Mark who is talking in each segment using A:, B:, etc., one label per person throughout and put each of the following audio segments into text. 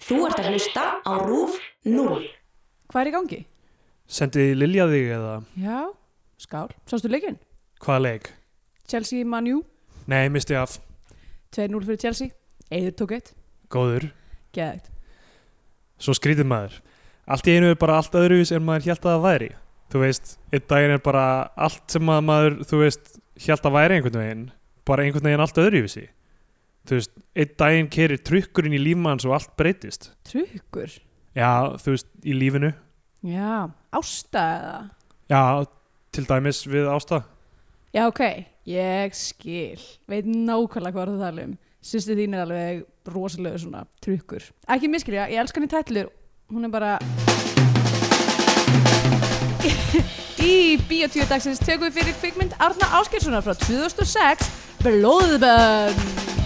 A: Þú ert að hlusta á RÚF 0.
B: Hvað er í gangi?
C: Sendi Lilja þig eða
B: Já, skál. Sástu leikinn?
C: hvaða leik?
B: Chelsea Manu,
C: Nei, misti af.
B: 2-0 fyrir Chelsea. Eður tók eitt.
C: Góður.
B: Geðægt.
C: Svo skrítið maður. Allt í einu er bara allt öðruvís en maður hjælt að það væri. Þú veist, einn daginn er bara allt sem að maður, þú veist, hjælt að væri einhvern veginn. Bara einhvern veginn allt öðruvísi. Þú veist, einn daginn kerir trukkurinn í lífmanns og allt breytist.
B: Trukkur.
C: Já, þú veist, í lífinu.
B: Já, ásta eða?
C: Já, til dæmis við ásta.
B: Já, ok. Ég skil. Veit nákvæmlega hvað er það að tala um. Sýsti þín er alveg rosalega svona trukkur. Ekki miskilja, ég elska hann í tætlur. Hún er bara... í Bíotvíu dagsins tökum við fyrir kvikmynd Arna Áskilssonar frá 2006 Blóðbönn.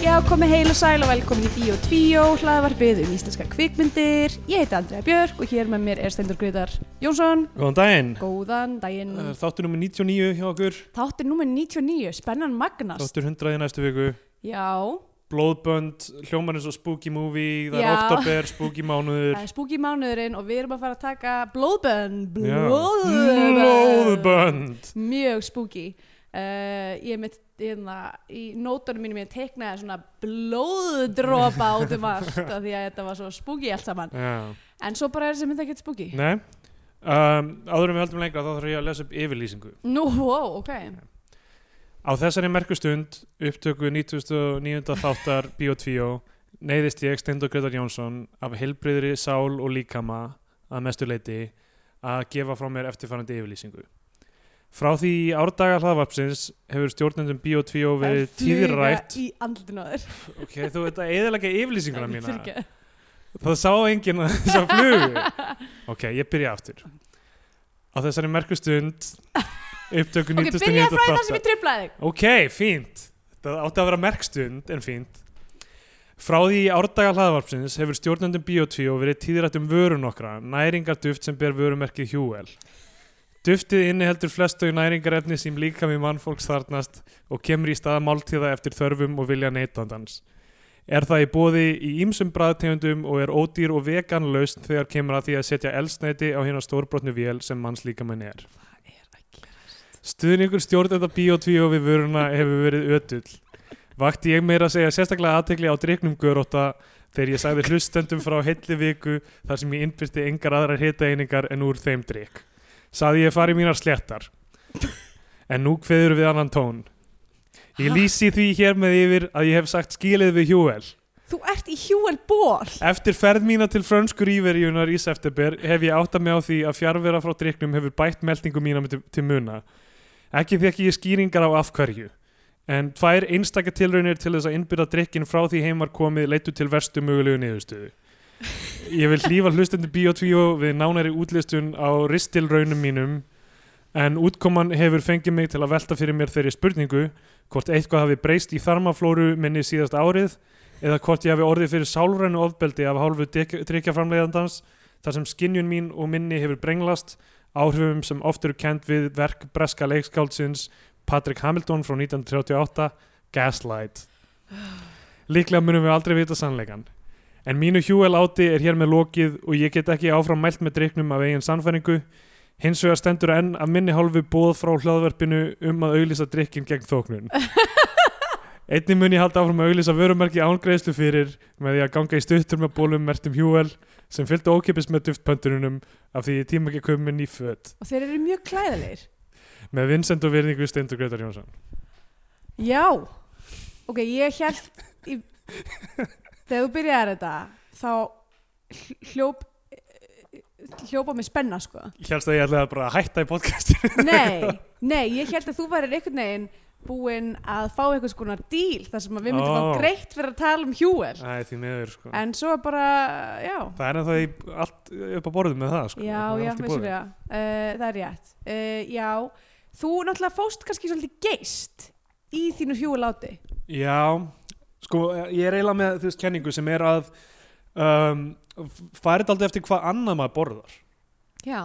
B: Já, komið heil og sæl og velkomin í Bíó 2, hlaðvarpið um íslenska kvikmyndir. Ég heiti Andrea Björk og hér með mér er Steindur Greitar Jónsson.
C: Góðan daginn.
B: Góðan daginn.
C: Það er Þáttur nummer 99 hjá okkur.
B: Þáttir númer 99, spennan Magnast.
C: Þáttur 100 í næstu viku.
B: Já,
C: Blóðbönd, hljómar eins og spooky movie, það
B: Já.
C: er oktober, spooky mánuður.
B: það er spúki mánuðurinn og við erum að fara að taka blóðbönn.
C: Já.
B: Blóðbönn.
C: Blóðbönd
B: Mjög spúki. Uh, ég er mitt, hérna, í nótunum mínum ég teiknaði svona blóðdropa út um allt af því að þetta var svo spúki allt saman.
C: Já.
B: En svo bara er þessi mynd ekkert spúki.
C: Nei um, Áður en við höldum lengra þá þarf ég að lesa upp yfirlýsingu
B: Nú, wow, ok.
C: Á þessari merkustund upptöku 99. þáttar Bíotvíó neyðist ég Steindor Gretar Jónsson af heilbriðri sál og líkama að mestu leiti að gefa frá mér eftirfarandi yfirlýsingu Frá því í árdaga hlaðvarpsins hefur stjórnendum Bíotvíó
B: Það er
C: verið tíðrætt
B: fluga í andlutinu á þér
C: Ok, þú veit að eðalega yfirlýsinguna
B: Nei,
C: mína
B: fyrirgefðu.
C: Það sá enginn að þess að flugu. Ok, ég byrja aftur. Á þessari merkustund, upptöku
B: ok, byrjaði
C: 99.
B: frá það sem
C: þáttar.
B: ég tripplaði þig
C: Ok, fínt. Það átti að vera merkstund, en fínt. Frá því í árdaga hlaðvarpsins hefur stjórnendum Bíotvíó verið tíðrætt um vörun okkra, næringarduft sem ber vörumerkið Hjúel. Duftið inniheldur flestu næringarefni sem líka með mannfólks þarnast og kemur í staða máltíða eftir þörfum og vilja neytandans. Er það í bóði í ýmsum bræðtegundum og er ódýr og veganlaust þegar kemur að því að setja elsnæti á hérna stórbrotnu vél sem mannslíkamenn er. Stuðningur stjórnenda Bíotvíó við vöruna hefur verið ötull. Vakti ég meira að segja sérstaklega aðtekli á dryknum göróta þegar ég sagði hlustendum frá heilli viku þar sem ég innbyrsti engar aðrar hitaeiningar en úr þeim dryk. Saði ég farið mínar sléttar. En nú kveður við annan tón. Ég lýsi því hér með yfir að ég hef sagt skilið við hjúvel.
B: Þú ert í hjúel ból
C: Eftir ferð mína til frönsku ríverjunar í september hef ég áttað mig á því að fjárvera frá driknum hefur bætt meldingu mína til, til muna. Ekki þekki ég skýringar á af hverju. En tvær einstaka tilraunir til þess að innbyrða drikkin frá því heimar komið leitu til verstu mögulegu niðurstöðu. Ég vil hlýfa hlustandi Bíotvíó við nánæri útlistun á ristilraunum mínum en útkoman hefur fengið mig til að velta fyrir mér þeirri spurningu hvort eitthvað hafi breyst í þarmaflóru minni síðast árið eða hvort ég hafi orðið fyrir sálrænu ofbeldi af hálfu drikkjaframleiðandans þar sem skinjun mín og minni hefur brenglast áhrifum sem oft eru kent við verk breska leikskáldsins Patrick Hamilton frá 1938 Gaslight Líklega munum við aldrei vita sannleikan En mínu hjúel áti er hér með lokið og ég get ekki áfram mælt með driknum af eigin sannfæringu Hins vegar stendur enn af minni hálfu bóð frá hlaðverpinu um að auglýsa drikkin gegn þóknun Einnig mun ég halda áfram að auglýsa vörumerki ángreiðslu fyrir með því að ganga í stuttur með bólum mertum hjúvel sem fylgdu ókipis með duftpöntununum af því ég tíma ekki að koma inn í föt
B: Og þeir eru mjög klæðilegir
C: með Vincent og Virningu Steindur Gretar Jónsson.
B: Já Ok, ég held í... Þegar þú byrjaði þetta Þá hl- hljóp Hljópa mig spenna sko
C: Ég helst að ég ætlaði bara að hætta í podcastinu.
B: Nei, nei, ég held að þú værir einhvern veginn Búinn að fá einhvers konar díl Þar sem að við myndum
C: Ó.
B: fá greitt fyrir að tala um hjúel
C: Æ, því miður sko.
B: En svo bara, já
C: Það er ennþá í allt upp á borðum með það sko.
B: Já,
C: Það er
B: já, Eh,
C: allt í boði.
B: vissulega. Uh, það er rétt. Uh, já, þú náttúrulega fóst kannski svolítið geist í þínu hjúláti
C: Já, sko ég er eiginlega með þú veist kenningu sem er að um, farið aldrei eftir hvað annað maður borðar
B: já,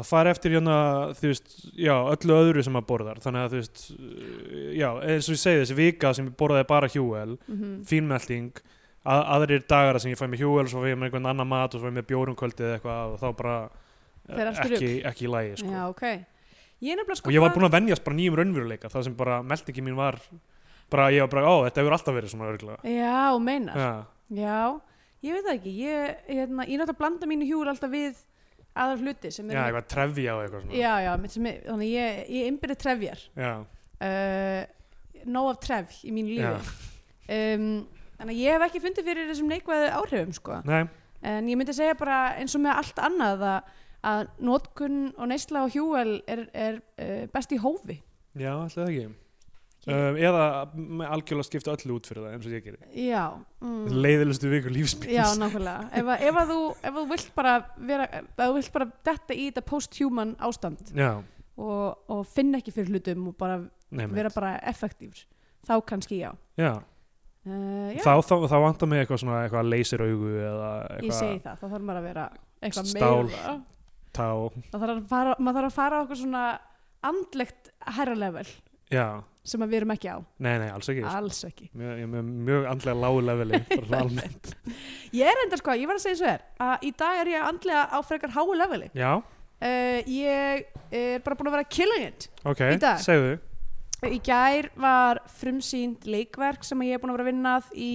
C: að fara eftir hérna, þú veist, já, öllu öðru sem maður borðar, þannig að þú veist uh, já, eins og ég segi þessi vika sem ég borðaði bara hjúel,
B: mm
C: fínmelting að, aðrir dagar sem ég fæ með hjúel svo fæ ég með einhvern annan mat og svo fæ ég með bjórum kvöldið eða eitthvað og þá bara uh,
B: Fer allt í
C: ekki, ekki í lagi, sko
B: já, ok ég er nefnilega sko
C: og ég var búinn að venjast bara nýjum raunveruleika það sem bara meldingi mín var bara, ég var bara, ó, þetta hefur alltaf verið svona örgla
B: já, meinar
C: ja.
B: Já, ég veit það ekki ég, hérna, ég náttúrulega blanda mínu hjúl alltaf við aðra hluti sem
C: Já,
B: er
C: eitthvað trefja og eitthvað svona
B: já, já, mitt sem er, þannig ég, ég einbyrði trefjar
C: Já,
B: uh, nóg af trefl í mínu lífi
C: já.
B: um, þannig að ég hef ekki fundið fyrir þessum neikvæðu áhrifum sko.
C: Nei,
B: en ég myndi segja bara eins og með allt annað að, að notkun og neysla á hjúvel er, er uh, best í hófi
C: já, alltaf ekki
B: Ekki.
C: um, Eða með algjörlega skipta öllu út fyrir það eins og ég gerir
B: já, mm.
C: mm. Leiðilustu vikur lífsmins
B: Já, nákvæmlega. Ef, að- ef, að þú, ef að þú vilt bara vera, ef þú vilt bara detta í þetta post-human ástand
C: Já,
B: og, og finna ekki fyrir hlutum og bara
C: nei, nei.
B: vera bara effektífur, þá kannski já.
C: Já.
B: Uh, já,
C: Þá, þá, þá vantar mig eitthvað svona eitthvað leysir augu eða
B: ég
C: eitthvað
B: segi það, þá þarf maður að vera eitthvað
C: Stál.
B: meira.
C: tá
B: Þá þarf að fara, maður þarf að fara á okkur svona andlegt herra level
C: Já,
B: sem að við erum ekki á,
C: nei, nei, alls ekki sko.
B: alls ekki.
C: Mjög, ég er með mjög andlega lágu leveli bara svona almennt.
B: Ég er enda sko, ég var að segja svo er, að í dag er ég andlega á frekar háu leveli.
C: Já,
B: Uh, ég er bara búin að vera killing it.
C: ok,
B: Í dag.
C: segðu
B: Í gær var frumsýnd leikverk sem ég er búin að vera að vinna að í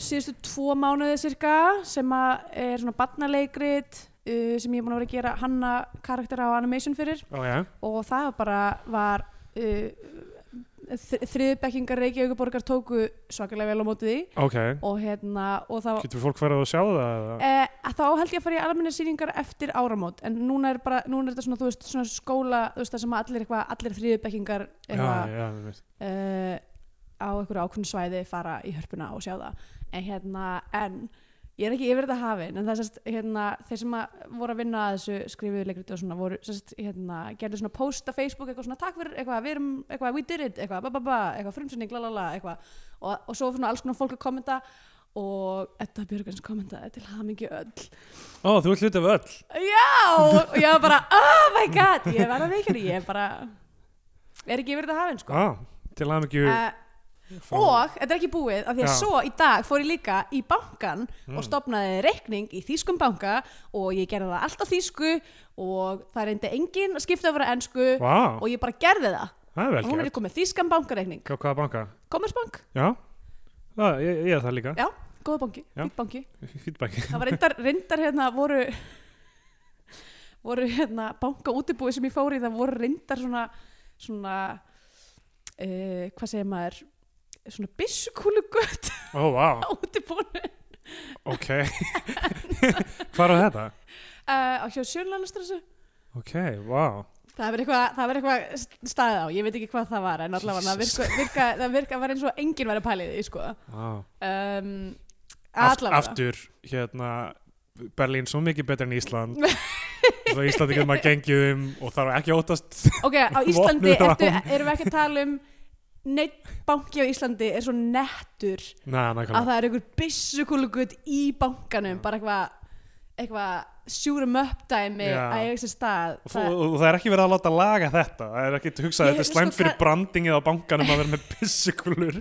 B: síðustu tvo mánuði cirka sem að er svona barnaleikrit uh, sem ég er búin að vera að gera hanna karaktera á animation fyrir
C: Ó, já,
B: og það bara var uh, þriðbekkingar Reykjavíkuborgar tóku svakalega vel á móti því
C: ok
B: og hérna og það
C: Getur fólk farið að sjá það? eða?
B: Eh, þá held ég að fara í almenna sýningar eftir áramót en núna er, bara, núna er þetta svona, þú veist, svona skóla þú veist, það sem að allir, eitthvað- allir þriðbekkingar eitthvað,
C: Já, já, ég veit
B: uh, á einhverju ákveðnu svæði fara í hörpuna og sjá það en hérna, en ég er ekki yfir þetta hafin, en það sérst hérna, þeir sem að voru að vinna að þessu skrifuðu leikrit og svona voru, sérst, hérna gerðu svona post á Facebook, eitthvað svona takk fyrir eitthvað, við erum, eitthvað, we did it, eitthvað, ba ba ba eitthvað, frumsynning, la la la, eitthvað og, og svo svona alls konar fólk að kommenta og Edda Björgens kommentaði til hamingi öll
C: Ó, þú ert hlut af öll
B: já, og ég var bara oh my god, ég verða veikari, ég er bara er ekki yfir þetta hafin, sko
C: Á, til að mikið
B: uh, og þetta er ekki búið af því að
C: Já.
B: svo í dag fór ég líka í bankan
C: Mm.
B: og stopnaði reikning í þýskum banka og ég gerði það alltaf þýsku og það reyndi enginn að skipta yfir að ensku
C: Vá,
B: og ég bara gerði það
C: það er vel
B: og núna er
C: gert
B: ég komið þýskan bankareikning
C: Hvað, hvaða banka?
B: Kommersbank,
C: Já, það, ég, ég er það líka
B: já, góða banki,
C: Já.
B: fýtt banki
C: Feedback
B: það var reyndar, reyndar hérna voru voru hérna banka útibúi sem ég fór í það voru reyndar svona svona uh, hvað segir maður svona byssukúlu gött
C: Ó, vá,
B: útibúinu
C: ok Hvað er þetta?
B: uh, á hjá Sjönlandaströssu
C: Ok, vá
B: það verður eitthvað, það var eitthvað staðið á ég veit ekki hvað það var en allavega það
C: Jesus.
B: virka, virka, það virka var eins og enginn var að pælið í sko
C: Vá.
B: um,
C: Aft,
B: allavega
C: Aftur, hérna Berlín svo mikið betur en Ísland Svo Íslandi getur maður gengið um og þarf ekki að óttast
B: ok, á Íslandi
C: Vopnuð
B: ertu, erum við ekki að tala um neitt banki á Íslandi er svo nettur
C: Næ,
B: að
C: nákvæmlega
B: það er einhver byssukúlugut í bankanum bara eitthvað eitthvað sjúrum upp dæmi
C: Já.
B: að eiga sér stað
C: Og, það, og það er ekki verið að láta laga þetta það er ekki hugsað að
B: Ég-
C: þetta er slæmt
B: sko,
C: fyrir
B: kann-
C: brandingið á bankanum að vera með byssukulur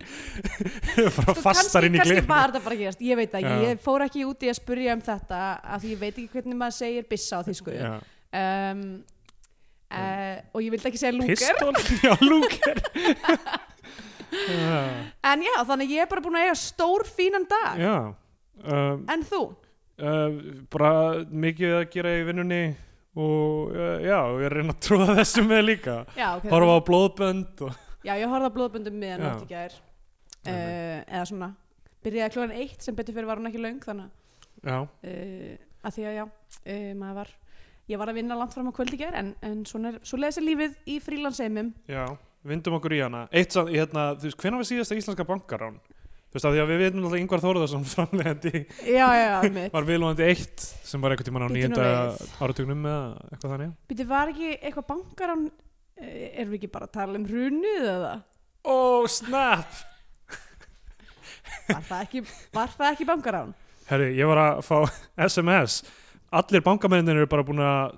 C: bara
B: Sko,
C: fastar inn
B: kannski,
C: í glir
B: kannski var þetta bara að gerast, ég veit það ekki,
C: Já.
B: ég fór ekki úti að spurja um þetta af því ég veit ekki hvernig maður segir byssa á því sko um,
C: Já.
B: uh, og ég vildi ekki segja lúker
C: Pistol? Já, lúker Já,
B: en já, þannig að ég er bara búin að eiga stór fínan dag
C: já.
B: Ah.
C: Uh,
B: en þú,
C: uh, bara mikið að gera í vinnunni og uh, já, ég er að reyna að trúa þessu með líka
B: já, ok
C: horfa á blóðbönd og...
B: já, ég horfði á blóðböndum miðan
C: Já.
B: átt í gær uh, eða svona, byrjaði klóðan eitt sem betur fyrir var hún ekki löng þannig að
C: já,
B: uh, að því að já, uh, maður var ég var að vinna langt fram á kvöld í ger en, en svona er, svo lesi lífið í frílanseimum
C: já, vindum okkur í hana eitt samt, hérna, þú veist, hvenær var síðasta íslenska bankarán? Þú veist, af því að við veitum alltaf Ingvar Þórðarsson framlegandi
B: já, já, já, mitt
C: var viðlóðandi eitt sem var einhvern tímann á
B: Bíddu nú
C: nýjönda
B: við.
C: áratugnum eða eitthvað þannig
B: býtti, var ekki eitthvað bankar án uh, erum við ekki bara að tala um hrunið eða?
C: Oh snap
B: Var það ekki, var það ekki bankarán?
C: Herri, ég var að fá SMS Allir bankamennin eru bara búin að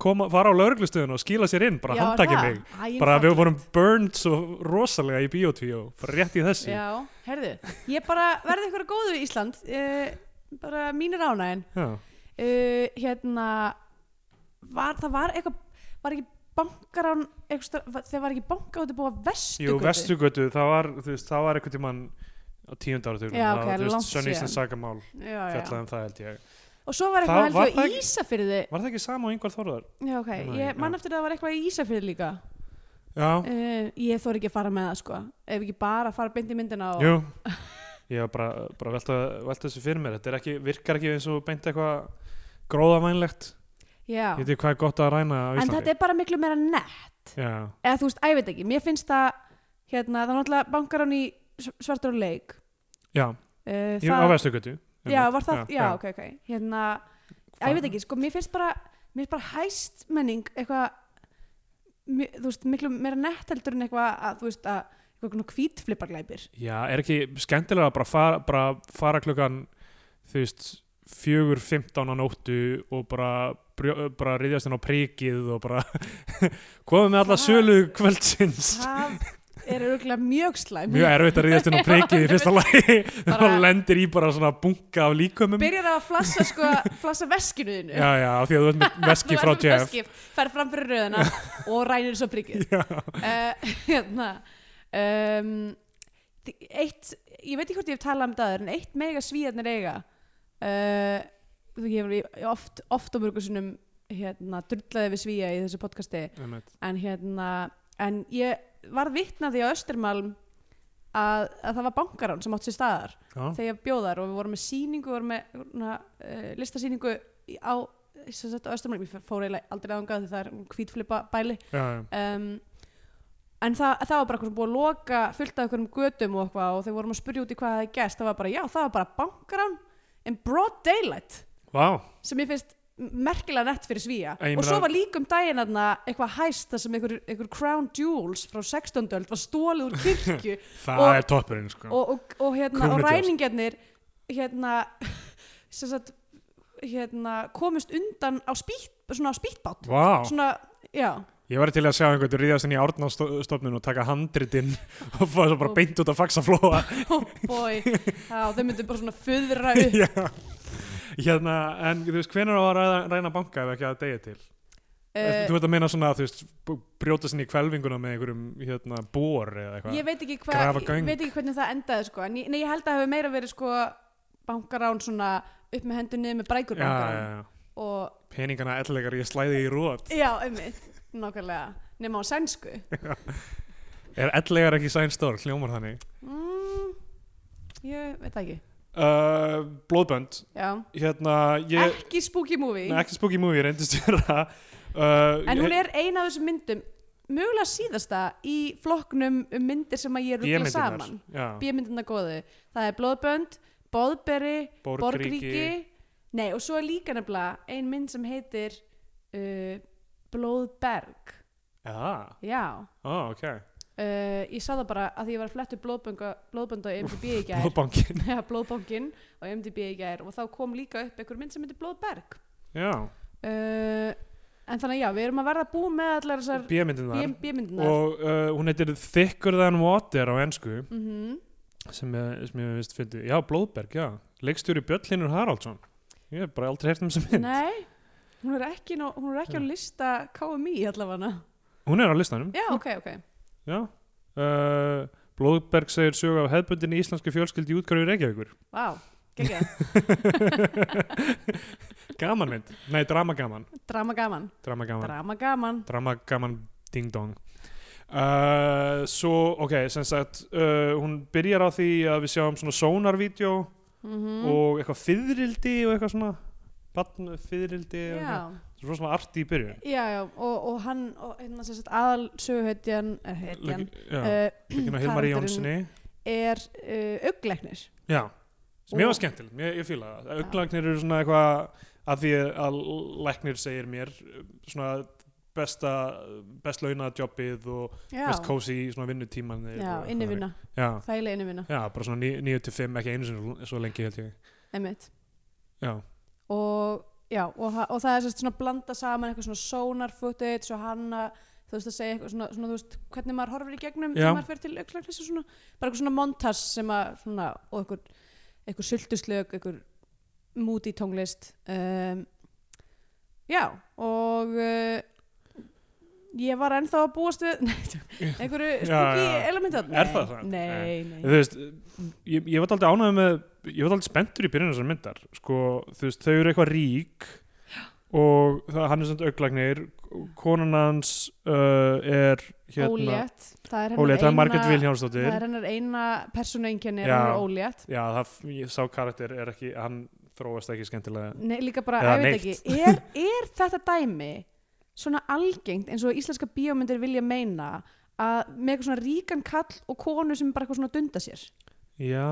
C: koma, fara á lauruglustöðun og skila sér inn, bara
B: Já,
C: handtaki
B: það?
C: mig
B: Æ, ég
C: bara
B: falla.
C: við vorum burned svo rosalega í biotvíó, bara rétt í þessu
B: Já, herðu, ég bara verði ykkur góðu í Ísland uh, bara mínir ánægin
C: Já.
B: uh, hérna var, það var eitthvað var ekki bankarán eitthvað, star- var- þegar var ekki banka út að búa vestugötu
C: Jú, vestugötu, það var, þú veist, það var eitthvað tímann á tíundar áratugum
B: Já,
C: það,
B: ok,
C: þú veist,
B: langt
C: Sönn Íslands
B: síðan.
C: sagamál
B: já, já.
C: fjallaði um það held ég
B: og svo var
C: Það-
B: eitthvað
C: var
B: heldur
C: það
B: í Ísafyrði
C: Var það ekki sama og yngvar Þórðar?
B: já, ok,
C: Ég man ekki,
B: ég
C: já.
B: mann eftir að það var eitthvað í Ísafyrði líka
C: Já,
B: uh, ég þóri ekki að fara með það sko ef ekki bara að fara beint í myndina og
C: jú Ég var bara, bara velta, velta þessu fyrir mér Þetta er ekki, virkar ekki eins og beint eitthvað gróðavænlegt
B: já.
C: Ég veit ekki hvað er gott að ræna á
B: en
C: Íslandi
B: þetta er bara miklu meira nett
C: Já,
B: eða þú veist, æ, ég veit ekki, mér finnst það hérna, það var náttúrulega bankarán í svartur og leik
C: já,
B: uh,
C: ég, á vestugötu
B: já, var það, já, ok, ok hérna, æ, ég veit ekki, sko, mér finnst bara mér finnst bara hæst menning eitthvað mi- þú veist, miklu meira nett heldur en eitthvað að, þú veist, að eitthvað hvítflipparglæpir
C: Já, er ekki skemmtilega að bara fara, bara fara klukkan þú veist, fjögur, fimmtán á nóttu og bara, brjó- bara riðjast inn á prikið og bara komið með alla
B: Það-
C: sölu kvöldsins
B: það er örgulega mjög slæm
C: Mjög erfitt að riðjast inn á
B: Já,
C: prikið í fyrsta lagi þegar
B: Bara-
C: hún lendir í bara svona bunka af líkumum Já,
B: byrjar að flassa, sko, flassa veskinu þínu
C: já, af því að þú ert með veski frá Jeff
B: fer fram fyrir röðina og rænir svo prikið
C: Já,
B: uh, hérna um, þi- eitt, ég veit ekki hvort ég hef talað um það áður, en eitt mega svíðarnir eiga uh, þú ég hefur oft, oft á mörgum sinnum hérna, drullaði við svíja í þessu podcasti
C: einmitt.
B: en hérna en ég var vitnaði á Östurmalm að, að það var bankarán sem átt sér staðar
C: já,
B: þegar ég bjóðar og við vorum með sýningu vorum með svona, uh, listasýningu í- á, sem sagt, á Östurmalm ég fór eiginlega aldrei aðangað því það er hvítflipa bæli
C: já, já.
B: um, en það, það var bara eitthvað sem búið að loka fullt af einhverjum götum og eitthvað og þeir vorum að spyrja út í hvað það er gæst það var bara, já, það var bara bankarán in broad daylight
C: Vá,
B: sem ég finnst merkilega nett fyrir svíja
C: En ég
B: og
C: meina-
B: svo var líkum daginn aðna eitthvað hæst það sem einhver, einhver crown jewels frá 16. öld var stólið úr kirkju
C: það
B: Og-
C: er toppurinn sko.
B: og, og, og, hérna, og
C: Krúnudjós.
B: ræningarnir hérna, sem sagt, hérna komust undan á, spýt, svona á spýtbát
C: Vá,
B: svona, já
C: ég var til að sjá einhvern ríðast inn í árnastofnun og taka handritinn og fara svo bara beint út að faxa flóa
B: oh boy, já, þau myndu bara svona föðra upp
C: Já, hérna, en þú veist, hvenær á að ræða, ræna banka ef ekki að degi til?
B: uh,
C: þú veit að meina svona, þú veist, b- brjóta sinni í kvelvinguna með einhverjum, hérna, bor eða eitthvað?
B: ég veit ekki, hva,
C: Grafa göng.
B: ég veit ekki hvernig það endaði sko. en ég, nei, ég held að það hefur meira verið sko, bankarán svona upp með hendur niður með brækur
C: Já, já,
B: bankarán
C: já,
B: og
C: peningana ellegar ég slæði í rót.
B: já, einmitt, nákvæmlega nema á sænsku
C: Er ellegar ekki sænstór, hljómar þannig?
B: mm, ég veit það ekki
C: Uh, blóðbönd,
B: já.
C: hérna, ég,
B: ekki spooky movie
C: Nei, ekki spooky movie, reyndist vera, uh,
B: en hún er eina af þessum myndum mögulega síðasta í flokknum um myndir sem að ég rúkla saman
C: já,
B: B-myndina góðu það er Blóðbönd, Bóðberi Borgríki Nei, og svo er líka nefnilega ein mynd sem heitir uh, Blóðberg
C: Já,
B: Já,
C: ó, ok,
B: uh, ég sá það bara að því ég var að flettu blóðbönd á IMDb í gær
C: blóðbankin,
B: Já, blóðbankin á IMDb í gær og þá kom líka upp einhver mynd sem heitir Blóðberg
C: já,
B: uh, En þannig að já, við erum að verða að búa með allar þessar
C: bíamyndinar.
B: B-myndinar
C: og uh, hún heitir Thicker Than Water á ennsku
B: mm
C: sem ég, sem ég vist fyndi, já, Blóðberg, já leikstjóri Björn Linur Haraldsson ég hef bara aldrei heyrt um sem mynd
B: Nei, hún er ekki, ná, hún er ekki á lista KMI allavega
C: hún er á listanum,
B: Já, ok, ok
C: já uh, Blóðberg segir sögu af hefðbundinni íslenski fjölskyldi í útgráfi Reykjavíkur
B: Vá, wow, geggjað
C: gaman mynd, nei, dramagaman
B: Drama gaman,
C: dramagaman,
B: drama gaman
C: dramagaman ding dong uh, svo, ok, sem sagt uh, hún byrjar á því að við sjáum svona sónarvídeó
B: mm
C: og eitthvað fyðrildi og eitthvað svona barn fyðrildi og eitthvað.
B: já,
C: Svo svona arti í byrjun.
B: já, já, og, og hann og hérna sem sagt aðal söguhetjan eh, hetjan, uh,
C: Líkina Hilmari
B: karakterinn
C: Jónssoni.
B: er uh, augleknir
C: Já. Sem ég
B: Og-
C: var skemmtileg, ég, ég fíla það. Auglagnir eru svona eitthvað að því að læknir segir mér svona besta best launaða jobbið og
B: já,
C: mest kósi í svona vinnutíman
B: já innivinna,
C: já,
B: þægilega innivinna
C: já, bara svona ní- níu til fimm ekki einu sinni svo lengi held ég
B: einmitt
C: já,
B: og, já, og, ha- og það er sérst svona blanda saman eitthvað svona sonar footage og hanna þú veist að segja eitthvað svona, svona þú veist, hvernig maður horfir í gegnum
C: Já.
B: þegar maður fer til auklaklísu svona bara eitthvað svona montas sem að svona, og eitthvað, eitthvað sultuslög eitthvað múti tónglist um, já og uh, ég var ennþá að búast við nei, tjók, einhverju
C: Já,
B: spooky
C: já.
B: element þarna.
C: Er það það?
B: nei, nei,
C: þú veist ég, ég var aldrei ánægð með, ég var aldrei spenntur í byrjun þessar myndar, sko, þú veist þau eru eitthvað rík og það, hann er sem auglagnir konan hans uh, er hérna,
B: ólétt það er hennar
C: ólétt, það er Margrét
B: eina-
C: Vilhjálmsdóttir
B: Það er hennar eina persónuenginni
C: Já.
B: er ólétt.
C: já, það, ég sá karakter er ekki, hann þróast ekki skemmtilega
B: Nei, líka bara,
C: Eða
B: ég veit
C: neitt.
B: ekki, er, er þetta dæmi svona algengt eins og íslenska bíómyndir vilja meina að með eitthvað svona ríkan kall og konu sem bara eitthvað svona dunda sér?
C: já,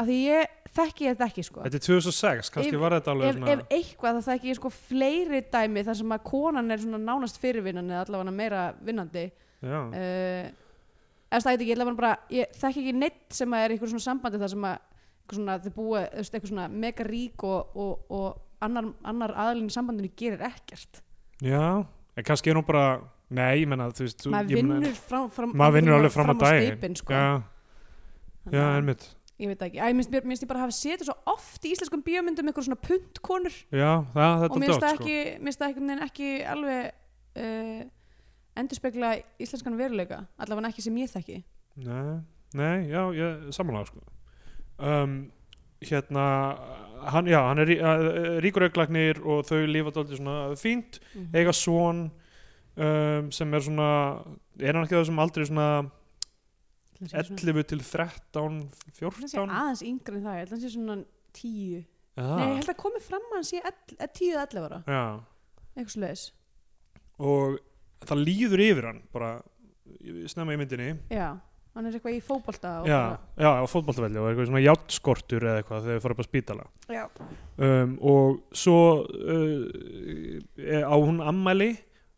B: Af því ég þekki ég þetta ekki, sko.
C: þetta er 2006 kannski
B: Ef-
C: var þetta alveg
B: Ef, ef eitthvað þá þekki ég sko fleiri dæmi þar sem að konan er svona nánast fyrirvinnan eða allavega meira vinnandi
C: já.
B: uh, eða stæði ekki, ég, ætla bara bara, ég þekki ekki neitt sem að er í einhverju svona sambandi þar sem að eitthvað svona, þau búa, þú veist, eitthvað svona mega rík og, og, og annar, annar aðlinn í sambandinu gerir ekkert
C: Já, en kannski er hún bara Nei, ég menna, þú veist þú-
B: maður
C: ég meina-
B: vinnur fram, fram,
C: maður vinnur alveg fram,
B: fram
C: að daginn
B: steypinn, sko.
C: Já, já
B: Þannig að-
C: einmitt
B: ég veit ekki, Æ, minnst, mér, minnst ég bara hafa setið svo oft í íslenskum bíómyndum eitthvað svona puntkonur
C: Já, það,
B: og
C: þetta sko.
B: minnst það
C: dótt,
B: ekki, minnst það ekki, ekki alveg uh, endurspegla íslenskan veruleika allavega ekki sem ég þekki
C: sko Nei, nei já, ég samanlega sko um, Hérna hann, Já, hann er rí- uh, ríkur auklagnir og þau lifa dálítið svona fínt eiga son um, sem er svona er hann ekki það sem aldrei svona
B: Ætli hann sé svona-
C: 11 til 13,
B: ætli hann sé
C: 14
B: aðeins yngri en það, ég held að hann sé svona tíu
C: Já.
B: Nei, ég held að komi fram að hann sé eh, 10-11 ára,
C: Já
B: eitthvað slags
C: og það líður yfir hann bara snemma í myndinni
B: Já, hann er eitthvað í fótbolta og
C: já, já, á fótboltavelli og eitthvað svona játskortur eða eitthvað þegar þau fara upp á spítala
B: bara- já.
C: um, og svo uh, er- á hún ammæli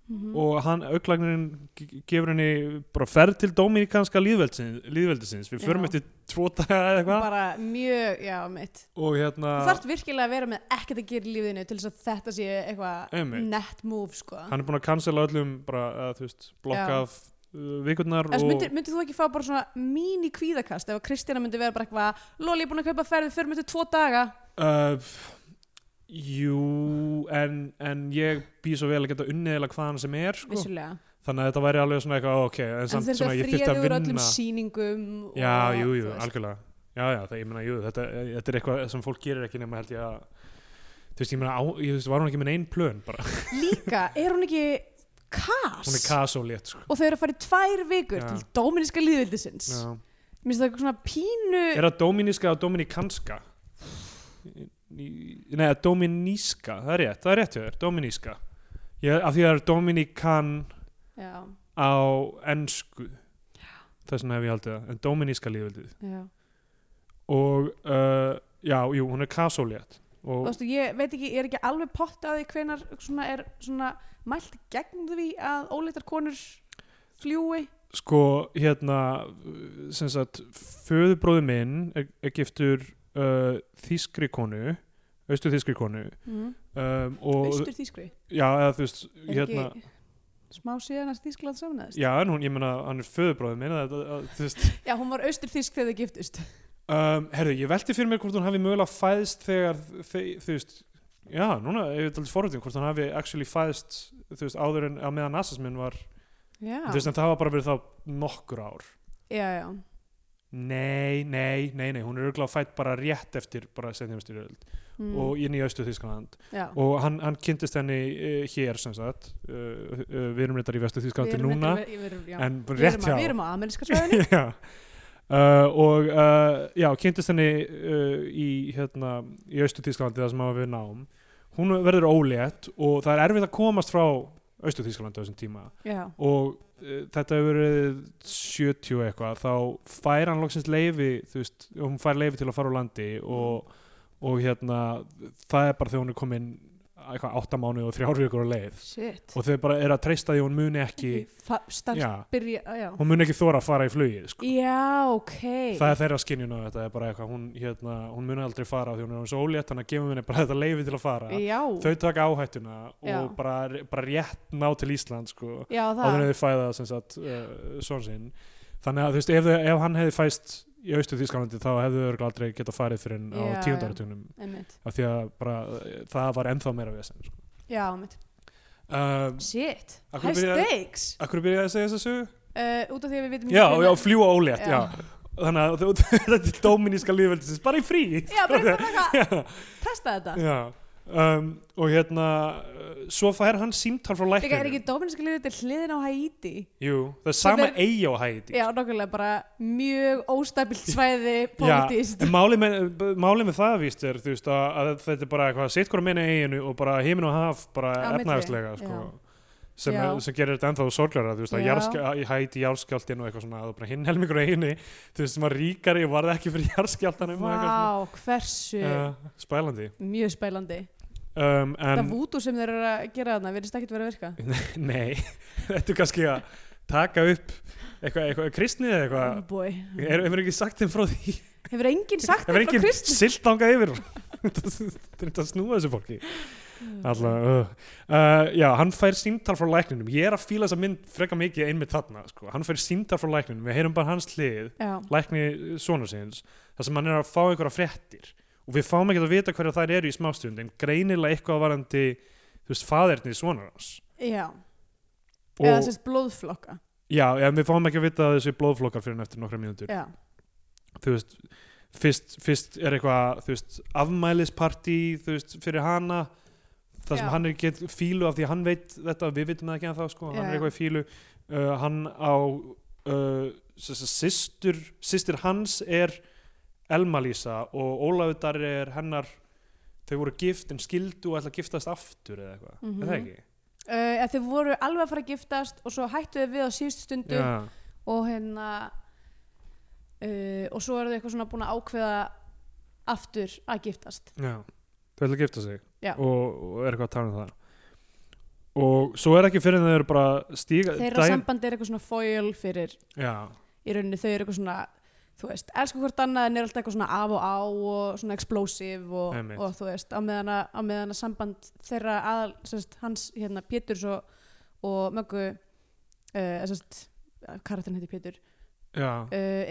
B: Mhm.
C: og hann auklagnirinn gefur henni bara ferð til dóminíkanska líðveldisins, líðveldisins. við förum
B: Já.
C: eftir tvo daga eða eitthvað
B: bara mjög, já, mitt
C: og hérna
B: Þú þarft virkilega að vera með ekkert að gera í lífinu til þess að þetta sé eitthvað
C: Einmitt.
B: net move, sko
C: hann er búin að cancela öllum bara, uh, þú veist, blokka
B: Já.
C: af uh, vikurnar
B: Þess,
C: og
B: myndir, myndir þú ekki fá bara svona mín í kvíðakast ef að Kristina myndi vera bara eitthvað Lóli, ég er búin að kaupa ferði, förum þetta tvo daga
C: Uh, jú, en, en ég býð svo vel að geta unniðilega hvaðan sem er sko.
B: vissulega
C: þannig að þetta væri alveg svona eitthvað ok, en
B: En
C: samt
B: þú þurft
C: svona
B: að
C: ég þyrfti
B: fríða
C: að
B: úr öllum
C: vinna
B: sýningum og-
C: Já, jú, jú,
B: þú veist.
C: algjörlega Já, já, það, ég meina, jú, þetta, þetta er eitthvað sem fólk gerir ekki nema held ég að þú veist, ég meina, á, ég, þú veist, var hún ekki með einn plön bara,
B: Líka, er hún ekki kas?
C: hún er kasólétt sko.
B: og þau eru að fara í tvær vikur
C: Já.
B: til Dóminíska líðvildisins
C: Já.
B: mér finnst það svona pínu
C: Er það dominíska eða dominikanska? Í- í- Nei, dominíska, það er rétt, það er rétt hjá þér, dominíska ég, af því að það er dominikan
B: já,
C: á ennsku þess vegna hef ég haldið það, en dominíska lífveldið
B: já.
C: og uh, já, jú, hún er kasólétt
B: Þú
C: og
B: Vestu, ég veit ekki, ég er ekki alveg pott að því hvenar svona er svona mælt gegn því að óleittar konur fljúi
C: sko hérna uh, sem sagt, föðubróði minn er, er giftur uh, þýskri konu austu þýskri konu
B: mm.
C: um, og
B: austur þýskri
C: já, eða þú veist,
B: er
C: hérna
B: ekki smá síðan að Þýskaland samanæðist
C: já, en hún, ég meina, hann er föðubróði minn að, að, að, þú veist
B: já, hún var austur þýsk þegar þau giftust
C: Um, herru, ég velti fyrir mér hvort hún hafi mögulega fæðst þegar, þe þú veist já, núna, ég veit aldrei forröndin hvort hún hafi actually fæðst, þú veist, áður en að meðan nasismin var,
B: já,
C: þú veist, en það var bara verið þá nokkur ár
B: já, já,
C: nei, nei, nei, nei, hún er örgulega fætt bara rétt eftir bara setjumstyrjöld
B: mm.
C: og inn í austu Þískaland
B: já.
C: og hann, hann kynntist henni uh, hér, sem sagt uh, uh, við erum reyndar í vestu
B: Við
C: Þískalandi
B: erum
C: núna
B: reyndar- við erum- já.
C: en
B: Við
C: rétt
B: erum
C: hjá
B: að- við erum á ameríska svæðinu
C: já. Uh, og uh, já, kynntist henni uh, í, hérna, í Austutískalandi það sem hafa við nám hún verður ólétt og það er erfitt að komast frá Austutískalandi á þessum tíma
B: já,
C: og uh, þetta hefur verið 70 eitthvað þá fær hann loksins leifi þú veist, hún fær leifi til að fara úr landi og, og hérna það er bara þegar hún er komin eitthvað áttamánu og þrjárvíkur á leið
B: shit
C: og þau bara eru að treysta því að hún muni ekki
B: starf
C: já,
B: byrja á, já.
C: hún muni ekki þóra að fara í flugið sko.
B: já, ok
C: það er þeirra skinjun á þetta er bara eitthvað, hún, hérna, hún muni aldrei fara því hún er svo ólétt, þannig að gefum henni bara þetta leifi til að fara
B: já,
C: þau taka áhættuna
B: Já.
C: og bara, bara rétt ná til Ísland sko,
B: já það
C: áður en þau fæða sem sagt, uh, son sinn þannig að þú veist, ef, þau- ef hann hefði fæst í austu Þískalandi þá hefðu örgulega aldrei geta farið fyrir henn á
B: Já, já.
C: tíundaratunum
B: einmitt,
C: af því að bara, eh, það var ennþá meira vesen sko.
B: já, einmitt
C: um,
B: shit,
C: Af
B: high
C: hverju byrjar-
B: stakes
C: Akkur byrjaði að segja þessu? sögu?
B: uh, út af því að við vitum ekki
C: Já, já,
B: hvenær-
C: fljúa ólétt, já.
B: Já.
C: Þannig að þú- þetta er dóminíska lífveldisins, bara í frí.
B: já, bara eitthvað að
C: Já,
B: testa þetta
C: já. Um, og hérna, uh, svo fær hann símtal frá
B: Líka er ekki
C: lækninu.
B: dominíska liðið til hliðin á Haiti
C: Jú, það er
B: Sem
C: sama
B: er-
C: eigi á hæti.
B: Já, nokkulega bara mjög óstabilt svæði
C: Já,
B: pólitíst
C: en málið með, málið með það víst er, þú veist, að, að þetta er bara eitthvað sitt hvora minni eiginu og bara heimin og haf bara
B: Á milli,
C: efnaðarslega, sko.
B: já.
C: Sem,
B: Já.
C: sem gerir þetta ennþá sorglara, þú veist, að
B: Já.
C: jarðskjál- í hæti jarðskjáltin og eitthvað svona, að það er bara hinn helmingur á eiginu, þú veist, sem var ríkari og varð ekki fyrir jarðskjáltanum. og eitthvað svona.
B: Vá, hversu
C: uh, spælandi
B: mjög spælandi
C: um,
B: Það
C: en,
B: vútu sem þeir eru að gera þarna verðist ekkert vera að virka
C: nei, þetta er kannski að taka upp eitthvað, eitthvað kristnið eða
B: Oh
C: eitthvað
B: boy.
C: er, hefur ekki sagt þeim frá því
B: Hefur enginn sagt
C: hefur
B: þetta frá
C: enginn
B: Kristi?
C: silt þangað yfir þetta er þetta að snúa þessu fólki
B: Mm.
C: Alltaf, uh. Uh, já, hann fær símtal frá lækninum ég er að fíla þessa mynd freka mikið einmitt þarna sko. hann fær símtal frá lækninum, við heyrum bara hans hlið
B: Já,
C: lækni sonar síns þar sem hann er að fá einhverja fréttir og við fáum ekkert að vita hverja þær eru í smástund en greinilega eitthvað varandi þú veist, faðerni sonar hans
B: já
C: og,
B: Eða sérst blóðflokka
C: já, en við fáum ekki að vita þessi blóðflokkar fyrir en eftir nokkra mínútur
B: Já,
C: þú veist, fyrst, fyrst er eitthvað þú veist, afmælispartí þú veist, fyrir hana það sem
B: Já.
C: hann er ekki í fílu af því að hann veit þetta, við vitum það ekki að það sko, hann
B: Já,
C: er
B: já.
C: eitthvað í fílu uh, hann á uh, sýstur sýstur hans er Elma-Lísa og Ólafur Darri er hennar þau voru gift en skildu og ætla að giftast aftur eða eitthvað,
B: Mhm.
C: er það ekki?
B: uh, eða þeir voru alveg að fara að giftast og svo hættu þeir við á síðustu stundu
C: Já,
B: og hérna uh, og svo eru þau eitthvað svona búin að ákveða aftur að giftast
C: já, þau ætla að gifta sig
B: Já.
C: og, og er eitthvað að tala um það og svo er ekki fyrir en þau eru bara stíga
B: þeirra sambandi er eitthvað svona foil fyrir
C: já,
B: í rauninni þau eru eitthvað svona þú veist, elsku hvort annað en er alltaf eitthvað svona af og á og svona explosive og,
C: Einmitt.
B: og þú veist, á meðan að, á meðan að samband þeirra aðal, sérst, hans hérna Péturs og, og möggu uh, sérst, karakterin heiti Pétur uh,
C: já,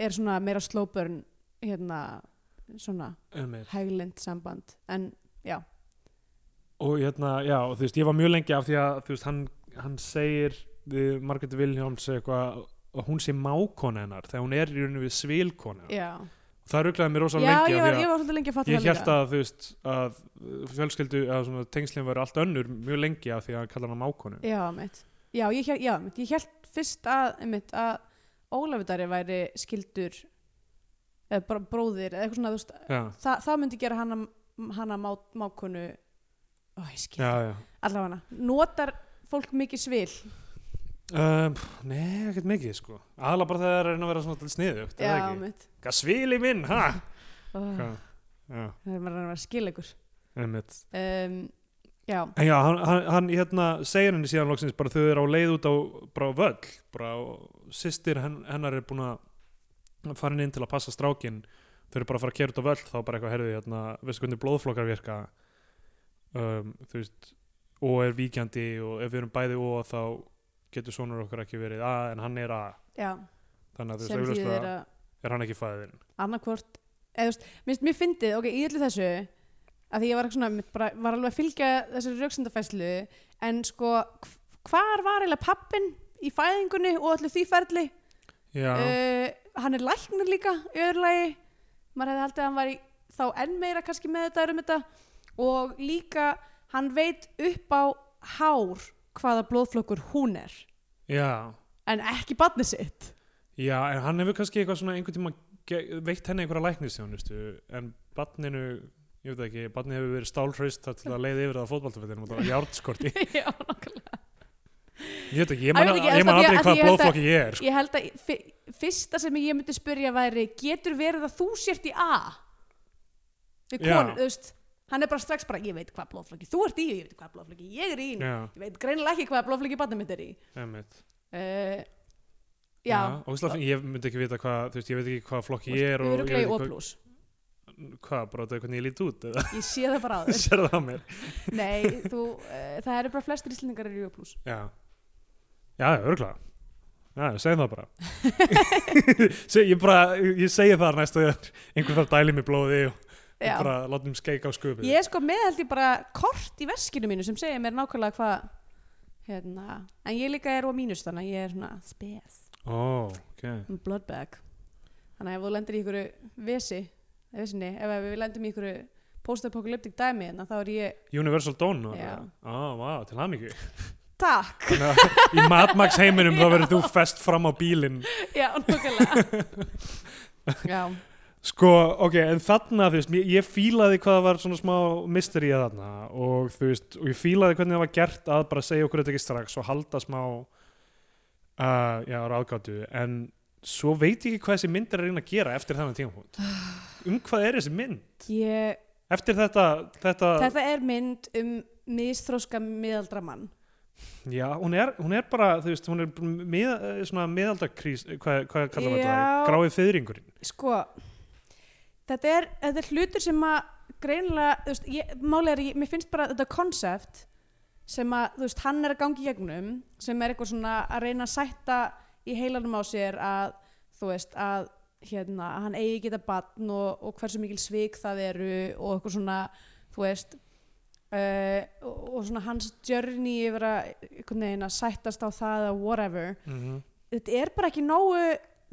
B: er svona meira slóburn hérna, svona
C: einmitt
B: hæglind samband en já,
C: og hérna, já, og þú veist, ég var mjög lengi af því að, þú veist, hann, hann segir við Margreti Vilhjóms eitthvað að hún sé mákona hennar þegar hún er í rauninni við svilkona
B: já
C: það rugglaði mér rosa
B: já,
C: lengi
B: ég
C: af
B: var,
C: því
B: ég var svolítið lengi að um
C: að
B: fatta
C: ég held
B: líka.
C: að, þú veist, að uh, fjölskyldu, að svona tengslinn var allt önnur mjög lengi af því að hann kallar hann mákonu
B: já, mitt, já, ég held, já, mitt, ég held fyrst að, mitt, að Ólafur Darri væri skildur eða bara bróðir eða eitthvað svona, þú veist,
C: já,
B: það, það myndi gera hana, hana má, mákonu ó, ég skil,
C: já,
B: ja.
C: já
B: allavega notar fólk mikið svil
C: Um, nei, ekkert mikið sko aðla bara þegar það er að reyna að vera svona til sniðugt er það
B: já,
C: ekki?
B: mitt
C: Hvað svili minn, ha?
B: oh,
C: Hvað?
B: það
C: Já,
B: er maður að vera skillegur
C: einmitt
B: um, já,
C: En já, hann, hann, hann hérna segir henni síðan loksins bara þau eru á leið út á bara á völl, bara á sýstir henn, hennar er búin að fara inn til að passa strákin þau eru bara að fara að kera út á völl, þá bara eitthvað herði hérna, veistu hvernig blóðflokkar virka um, þú veist og er víkjandi og ef við erum bæði og þá getur sonur okkar ekki verið A en hann er A,
B: já
C: þannig að þú
B: sem
C: veist
B: því
C: auðvitað
B: þeirra
C: er hann ekki fæðin
B: annarkvort eða þú veist, minnst mér fyndið, ok, í öllu þessu að því ég var, eitthvað svona, einmitt bara, var alveg að fylgja þessari rauksendafæslu en sko, hv- hvar var eiginlega pappin í fæðingunni og öllu því ferli
C: Já,
B: uh, hann er læknir líka í öðru lagi maður hefði haldið að hann væri þá enn meira kannski með þetta um þetta og líka hann veit upp á hár hvaða blóðflokkur hún er
C: já,
B: en ekki badni sitt
C: já en hann hefur kannski eitthvað svona einhvern tíma veitt henni einhverja læknistjónustu en barninu, ég veit það ekki barnið hefur verið stálhraust þar til að leiði yfir það fótballtafellinu og það var járnskorti
B: Já, nákvæmlega.
C: ég veit ekki, ég
B: Ég
C: man,
B: veit ekki,
C: ég man
B: af því að- af því ég held
C: aldrei hvaða
B: að-
C: blóðflokki ég er sko.
B: ég held að fi- fyrsta sem ég myndi spyrja væri getur verið að þú sért í A við
C: Já.
B: konur, þú veist hann er bara strax bara, ég veit hvað blóðflokki þú ert í, ég veit hvað blóðflokki ég er í
C: já,
B: ég veit greinilega ekki hvað blóðflokki barnið mitt er í
C: emmitt
B: uh, já,
C: ógislega, fín- ég myndi ekki vita hvað, þú veist, ég veit ekki hvað flokki ég er og ég
B: öruglega í
C: veit ekki
B: O+.
C: hvað, hvað, bara þetta er hvernig ég lít út eða
B: Ég sé það bara á þér.
C: sér það á mér
B: Nei, þú, uh, það eru bara flestir íslendingar eru í O+.
C: já, já, örgla já, segjum það bara Se, ég bara, ég segi það næst að einhver þarf dælið mér blóði og og
B: Já.
C: bara látum skeika á sköpið
B: Ég er sko með held ég bara kort í veskinu mínu sem segir mér nákvæmlega hvað hérna, en ég líka er á mínus þannig að ég er svona spes,
C: ó, ok,
B: um blood bag þannig að ef þú lendir í ykkur vesi, eh, vesinni, ef að við lendum í ykkur post-apocalyptic dæmi hérna, þá er ég,
C: Universal Dawn og
B: Já.
C: það. á, vá, til hann ekki
B: takk
C: þannig að í Mad Max heiminum þá verður þú fest fram á bílinn
B: já, nákvæmlega já,
C: Sko, ok, en þarna, þú veist, ég, ég fílaði hvað það var svona smá mystery að þarna og þú veist, og ég fílaði hvernig það var gert að bara segja okkur þetta ekki strax og halda smá, uh, já, ráðgáttu, en svo veit ég ekki hvað þessi mynd er að reyna að gera eftir þannig tímafót. Um hvað er þessi mynd?
B: ég,
C: Eftir þetta, þetta,
B: þetta er mynd um misþróska miðaldra mann
C: já, hún er, hún er bara, þú veist, hún er mið, eh, svona miðaldakrís, eh, hvað, hvað kallar
B: Já.
C: maður þetta? Gráið fyrringurinn.
B: sko þetta er, þetta er hlutur sem að greinilega, þú veist, ég, máli er að ég, mér finnst bara þetta konsept sem að, þú veist, hann er að gangi í gegnum sem er eitthvað svona að reyna að sætta í heilanum á sér að þú veist, að hérna, að hann eigi geta batn og, og hversu mikil svik það eru og eitthvað svona þú veist uh, og, og svona hans journey yfir að, einhvern veginn að sættast á það eða whatever
C: Mm
B: þetta er bara ekki nógu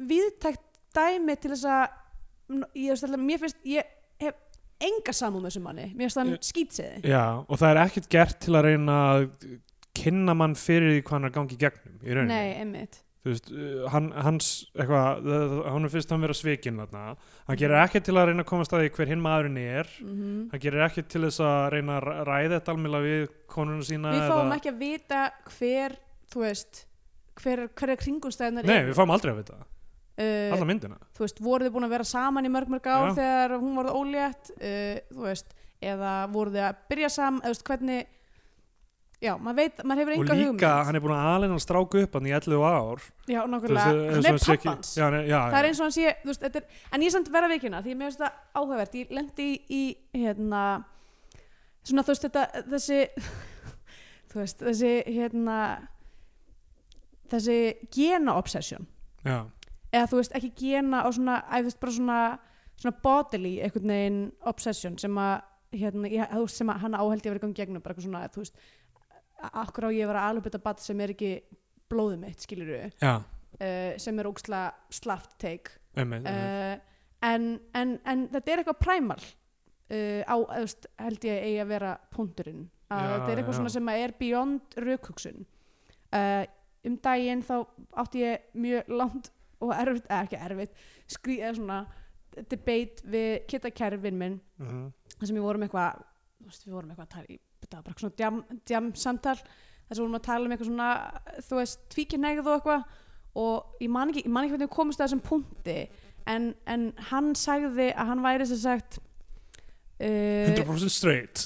B: viðtækt dæmi til þess að ég, veist alltaf, mér finnst ég hef enga samúð með þessum manni mér finnst hann
C: Ég-
B: skýtsiði
C: Já, og það er ekkert gert til að reyna að kynna mann fyrir því hvað hann er að gangi í gegnum í rauninni.
B: nei, einmitt
C: Þú veist, uh, hann, hans, eitthvað, hann er fyrst hann vera svikinn þarna. Hann
B: Mhm.
C: gerir ekkert til að reyna að komast að því hver hinn maðurinn er.
B: mm -hmm.
C: Hann gerir ekkert til þess að reyna að ra- ræða þetta almjöla við konuna sína.
B: við fáum ekki að vita hver þú veist, hver, hver er kringumstæðnar
C: Nei, við fáum aldrei að vita.
B: uh,
C: Alla myndina.
B: þú veist, voru þið búin að vera saman í mörg mörg ár
C: Já.
B: þegar hún varð ólétt uh, þú veist, eða voru þið að byrja saman, eða þú veist, hvernig já, maður veit, maður hefur
C: Og
B: enga
C: líka,
B: hugmynd
C: hann er búin að alveg hann stráku upp hann í 11 ár.
B: já,
C: Þú veist,
B: nákvæmlega,
C: eins
B: hann
C: og
B: er
C: sé ekki-
B: pappans
C: Já, hann er- já,
B: það er
C: já.
B: eins og hann sé þú veist, þetta er, en ég er samt verða vikina því mér finnst það áhugavert ég lendi í, í hérna svona þú veist þetta þessi þú veist þessi hérna þessi gena obsession
C: Já,
B: eða þú veist ekki gena og svona, að, veist, bara svona, svona bodily einhvern veginn obsession sem að, hérna, ég, þú veist, sem að hann áhaldi að vera í gangi gegnum bara eitthvað svona þú veist, a- akkur á ég að vera alveg bat sem er ekki blóðið mitt skilur við
C: já,
B: sem er óksla slaft take
C: einmitt, einmitt.
B: uh, en, en, en þetta er eitthvað præmal uh, á, þú veist, held ég eigi að vera punkturinn að
C: Já,
B: þetta er eitthvað
C: já.
B: svona sem að er beyond raukhugsun uh, um daginn þá átti ég mjög langt og erfitt, eða ekki erfitt skrý, eða svona debate við kittakerfin minn
C: Mhm.
B: þar sem við vorum eitthvað þú veist, við vorum eitthvað að tala í þetta var bara eitthvað svona djam, djam samtal þar sem við vorum að tala um eitthvað svona þú veist, tvíkinægð og eitthvað og ég man ekki, ég man ekki hvernig við komumst að þessum punkti en, en hann sagði að hann væri sem sagt uh,
C: 100% straight.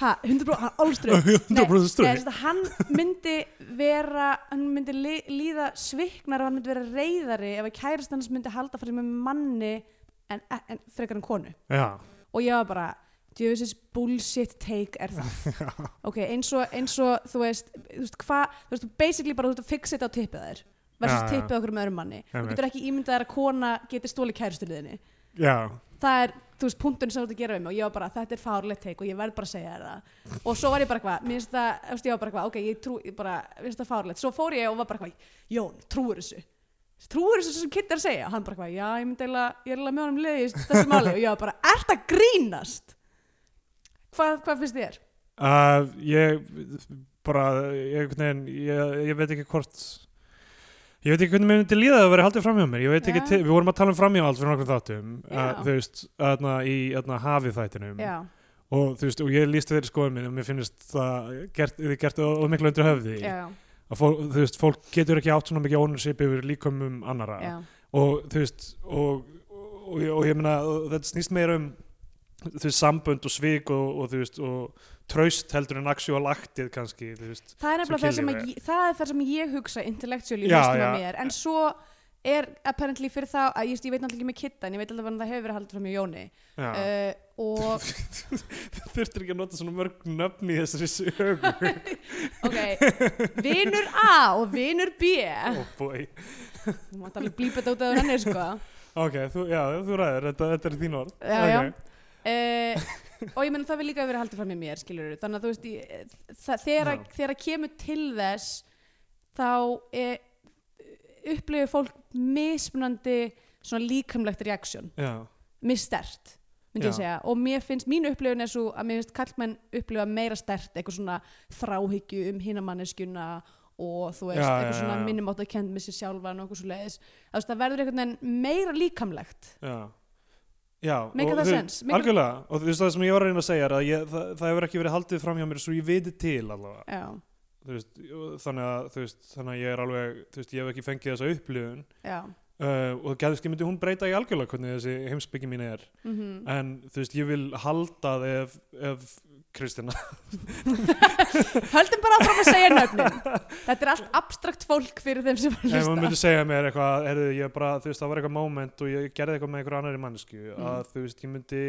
B: ha, 100% hann allströð
C: 100%
B: Nei,
C: straight.
B: þess að hann myndi vera hann myndi li, líða sviknar og hann myndi vera reyðari ef að kærast hans myndi halda fyrir með manni en, en frekar en konu
C: Já,
B: og ég var bara djöfisins bullshit take er það ok, eins og, eins og þú veist þú veist hvað, þú veist, basically bara þú veist að fixa þetta á tippið þær versus
C: Já, já.
B: tippið okkur með öðrum manni þú
C: Einmitt.
B: getur ekki ímyndað þær að kona getur stóli kærustuliðinni
C: já.
B: það er, þú veist, punktun sem þú ert að gera við mig og ég var bara, þetta er fárlegt teik og ég verð bara að segja þér það og svo var ég bara eitthvað, mér finnst það þú veist, ég var bara eitthvað, ok, ég trú, ég bara mér finnst það fárlegt, svo fór ég og var bara eitthvað Jón, trúur þessu, trúur þessu sem kitt er að segja og hann bara eitthvað, já, ég myndi eiginlega ég er eiginlega með honum liði í þessu máli og ég var bara, ert að grínast hvað, hvað finnst þér?
C: Uh, ég bara ég, einhvern veginn, ég, ég veit ekki hvort ég veit ekki hvernig mér myndi líða að vera haldið framhjá mér, ég veit ekki
B: Já.
C: til, við vorum að tala um framhjá allt fyrir nokkrum þáttum uh,
B: Já.
C: þú veist, aðna, í aðna, hafið þættinum
B: Já,
C: og þú veist, og ég lísti þeirri skoðum minn og mér finnst það gert, þið gert of of miklu undir höfði
B: já,
C: að fólk, þú veist, fólk getur ekki átt svona mikið ownership yfir líkumum annara
B: já,
C: og þú veist og, og, og, og ég meina, þetta snýst meira um þau sambönd og svik og, og þú veist og traust heldur en actual aktið kannski þú veist
B: það er nefnilega
C: Sem
B: það sem,
C: kynlíf
B: að, ég- það er það sem ég hugsa intellectually
C: Já,
B: já, já.
C: já.
B: Mér, en svo er apparently fyrir þá að ég, ég veit náttúrulega ekki með kitta en ég veit alveg að það hefur verið haldið fram í Jóni
C: já.
B: uh, og
C: þurftir ekki að nota svona mörg nöfn í þessari sögur
B: ok vinur A og vinur B
C: oh boy
B: þú mátt alveg blípa þetta út af henni sko
C: ok, þú, já, þú ræður, þetta, þetta er þín orð
B: já,
C: Ok.
B: já. Uh, og ég meina það vil líka verið haldið fram í mér skilur þannig að þú veist ég, það- þegar að-
C: Já.
B: þegar að kemur til þess þá er, upplifir fólk mismunandi svona líkamlegt reaksjón
C: já,
B: misstert myndi ég
C: Já.
B: segja og mér finnst, mínu upplifun er svo að mér finnst kallmenn upplifa meira stert eitthvað svona þráhyggju um hinamanneskjuna og þú veist,
C: Já,
B: eitthvað
C: já,
B: svona
C: já.
B: minnum átt að kenda með sér sjálfan og eitthvað svo leiðis það verður einhvern veginn meira líkamlegt
C: já já,
B: Make
C: og
B: that
C: þú-
B: sense. Make-
C: algjörlega, og þú veist það sem ég var að reyna að segja er að ég, það, það hefur ekki verið haldið fram hjá mér svo ég viti til allavega
B: já,
C: þú veist, og þannig að, þú veist, þannig að ég er alveg þú veist, ég hef ekki fengið þessa upplifun
B: já
C: uh, og gæðiski myndi hún breyta í algjörlega hvernig þessi heimsbyggi mín er
B: mm
C: en þú veist, ég vil halda það ef, ef Kristina
B: höldum bara áfram að segja nöfnin þetta er allt abstrakt fólk fyrir þeim sem að
C: ef hún
B: hlusta
C: myndi segja mér eitthvað er, ég bara, þú veist, það var eitthvað moment og ég gerði eitthvað með einhver annari mannesku
B: Mm.
C: að þú veist, ég myndi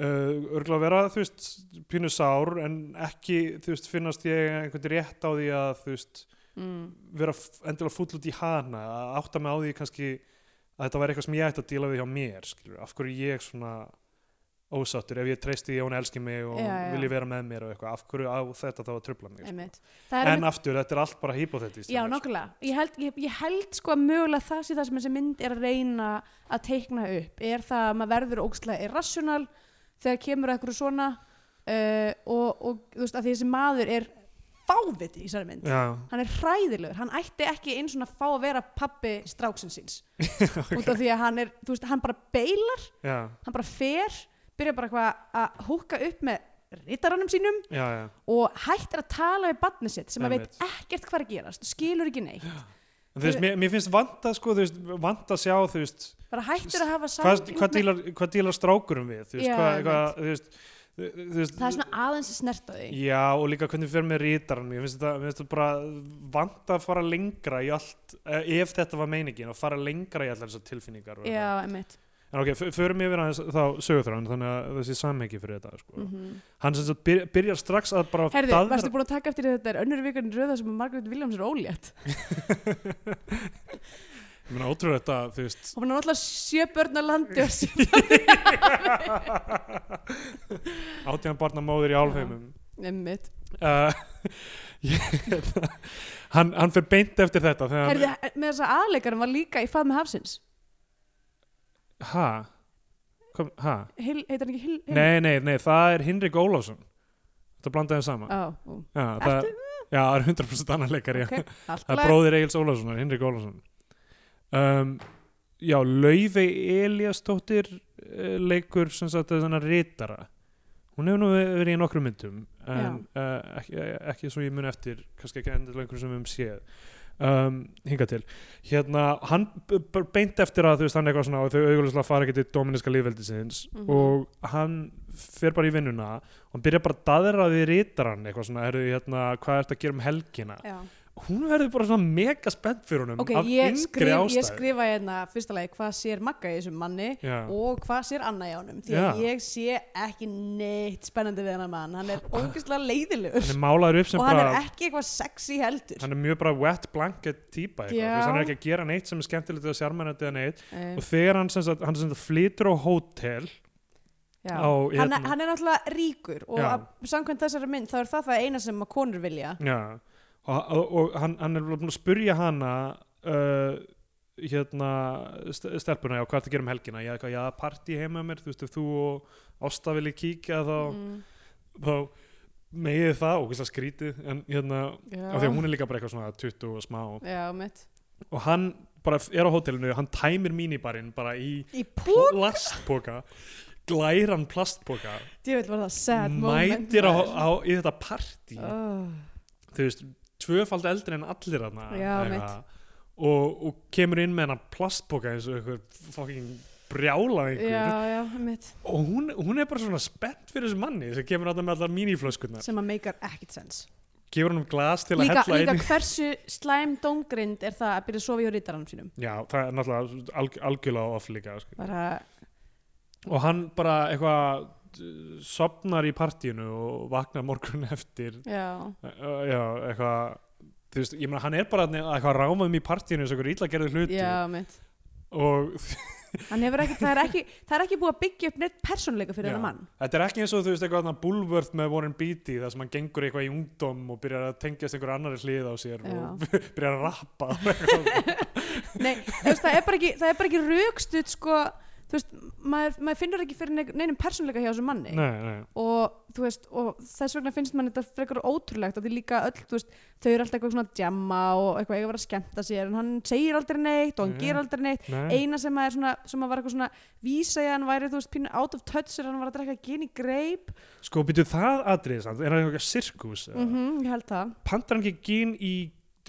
C: uh, örgulega vera, þú veist, pínu sár en ekki, þú veist, finnast ég einhvern rétt á því að, þú veist
B: mm,
C: vera f- endilega fúll út í hana að átta mig á því kannski að þetta væri eitthvað sem ég ætti að díla við hjá mér skilur. af hverju er ég svona ósáttur ef ég treysti því að hún elski mig og
B: Já,
C: já,
B: já.
C: vilji vera með mér og eitthvað af hverju á þetta þá að trubla mig sko.
B: einmitt það er
C: en aftur, þetta er allt bara hypotetist
B: Já, nokkulega. Ég held, ég, ég held sko að mögulega það sé það sem þessi mynd er að reyna að teikna upp. Er það að maður verður ógstlega irrational þegar kemur að eitthvað svona uh, og, og þú veist að því þessi maður er fáviti í þessari mynd.
C: sko. já,
B: Hann er hræðilegur. Hann ætti ekki eins og að fá að vera pappi stráksins síns. Út af því að hann er, þú veist, hann bara beilar,
C: já,
B: hann bara fer, byrjar bara eitthvað að húka upp með rítaranum sínum
C: já, já.
B: og hættir að tala við barnið sitt sem að veit
C: Einmitt.
B: ekkert hvað er að gerast, skilur ekki neitt
C: En Þú veist, mér, mér finnst vant að sko, þú veist, vant að sjá þú veist,
B: bara hættur að hafa
C: hvað,
B: samkennd
C: hvað,
B: með-
C: dílar, hvað dílar strákurum við þú veist,
B: Já,
C: hvað, hvað, þú veist, þú veist
B: það er svona aðeins snert á því
C: Já, og líka hvernig fyrir með rítarann ég finnst þetta, mér finnst þetta bara vant að fara lengra í allt eh, ef þetta var meiningin, að fara lengra í allar þessar tilfinningar og
B: já,
C: eitthvað.
B: emitt
C: En ok, f- förum yfir aðeins þá sögurþrán, þannig að þessi samhengi fyrir þetta sko.
B: mm
C: Hann sem sagt byr, byrjar strax að bara
B: herði, varstu búin að taka eftir því að þetta er önnur vikan röða sem að Margaret Williams er ólétt
C: Ég meina, ótrúlega þetta, þú veist
B: hún er náttúrulega sjö börn á landi og sjö
C: Átján barna móðir í álfheimum
B: emitt
C: uh, ég, hann, hann fyrir beint eftir þetta þegar
B: herði, eh, með þess að aðleikarum var líka í Faðmi Hafsins
C: Ha? Kom, ha?
B: Hil, heitir hann ekki Hil? Hil?
C: Nei, nei, nei, það er Hinrik Ólafsson Þetta blandaði saman
B: Ó, ó,
C: Já, það,
B: Ah, Ertu-
C: já, það er 100% annar leikari
B: ok, allt í
C: Það
B: lagi.
C: er bróðir Egils Ólafssonar, Hinrik Ólafsson um, Já, Laufey Eliasdóttir uh, leikur sem sagt þennan rítara Hún hefur nú verið í nokkrum myndum en uh, ekki, ekki svo ég mun eftir kannski ekki endur lengur sem við um séð um, hinga til hérna, hann b- b- beint eftir að þú veist hann er eitthvað svona og þau auðvitað fara ekki til dominiska lífveldisins
B: Mhm.
C: og hann fer bara í vinnuna og hann byrjar bara að daðra við rítaran eitthvað svona, herru, hérna, hvað er þetta að gera um helgina
B: Já.
C: hún verður bara svona mega spennt fyrir honum
B: ok,
C: af
B: ég,
C: yngri
B: skrif, ég
C: ástæðu.
B: skrifa hérna fyrsta lagi hvað sér Magga í þessum manni
C: Já.
B: og hvað sér Anna í honum því að
C: Já.
B: ég sé ekki neitt spennandi við hennar mann hann er ógeðslega leiðilegur
C: hann er málaður upp sem
B: og hann er
C: bara
B: ekki eitthvað sexy heldur
C: hann er mjög bara wet blanket típa eitthvað,
B: Já.
C: þú veist, hann er ekki að gera neitt sem er skemmtilegt eða sjarmanandi eða neitt
B: um,
C: og þegar hann sem sagt, hann sem sagt flytur á hótel á,
B: hann,
C: hérna-
B: hann er náttúrulega ríkur og
C: Já.
B: að, samkvæmt þessari mynd þá er það það eina sem að konur vilja
C: Já, og, og, og hann, hann er búin að spurja hana uh, hérna st- stelpuna, já, hvað ertu að gera um helgina já, eitthvað, já, partí heima hjá mér, þú veist, ef þú og Ásta vilji kíkja þá
B: Mm, Mhm.
C: þá megið það og hverslega skrítið, en hérna af því að hún er líka bara eitthvað svona 20 og smá
B: já, mitt
C: og hann bara er á hótelinu, hann tæmir mínibarinn bara í
B: í púk,
C: plastpoka glæran plastpoka
B: ég veit var það sad moment
C: mætir á, á, í þetta partí
B: oh,
C: þú veist, tvöfald eldri en allir þarna
B: Já,
C: eitthvað. og, og kemur inn með hennar plastpoka eins og eitthvað fucking brjála einhver
B: já, já, mitt
C: og hún, hún er bara svona spennt fyrir þessu manni sem kemur alltaf með allar míniflöskunar
B: sem að meikar ekkit sens
C: gefur hann glas til að
B: líka,
C: hella
B: líka
C: einu
B: hversu slæm dómgrind er það að byrja að sofa hjá rítaranum sínum
C: já, það er náttúrulega alg, algjörlega off líka sko.
B: bara,
C: og hann bara eitthvað uh, sopnar í partíinu og vaknar morgun eftir
B: já,
C: uh, uh, já, eitthvað þú veist, ég meina, hann er bara þarna eitthvað rámaðum í partíinu eins og eitthvað illa gerði hluti
B: já, mitt
C: og
B: hann hefur ekki, það er ekki það er ekki búið að byggja upp neitt persónleika fyrir
C: Já.
B: þennan mann
C: Þetta er ekki eins og þú veist eitthvað búlvörð með Warren Beatty þar sem hann gengur eitthvað í ungdóm og byrjar að tengjast einhver annari hlið á sér
B: Já.
C: og byrjar að rappa og eitthvað.
B: Nei, þú veist, það er bara ekki, það er bara ekki raukstuð sko, þú veist, maður, maður finnur ekki fyrir nein- neinum persónleika hjá þessum manni
C: Nei, nei,
B: og þú veist, og þess vegna finnst mann þetta frekar ótrúlegt og því líka öll, þú veist, þau eru alltaf eitthvað svona að djamma og eitthvað eiga að vera að skemmta sér en hann segir aldrei neitt og hann
C: Já.
B: ger aldrei neitt
C: nei.
B: eina sem að er svona, sem að var eitthvað svona vísa í að hann væri, þú veist, pínu out of touch þegar hann var að drekka gin í greip
C: Sko, býtu það atriðis er það eitthvað sirkus?
B: mm ég held það,
C: Pantar hann ekki gín í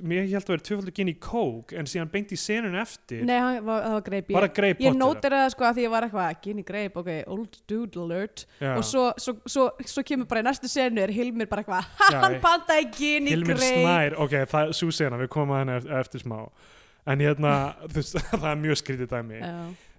C: mér held að vera tvöfaldur gín í kók en síðan beint í senun eftir
B: nei, hann, var, það var greip
C: bara
B: ég,
C: greip
B: ég nótir það sko að því ég var eitthvað gin í greip, ok, old dude alert og svo, svo, svo, svo kemur bara í næstu senu er Hilmir bara eitthvað, "Ha,
C: Já,
B: hann
C: ég-
B: pantaði gini
C: Hilmir
B: grei
C: Snær, ok, það er svo sena, við komum að henni eftir, eftir smá en hérna, þú veist, það er mjög skrítið dæmi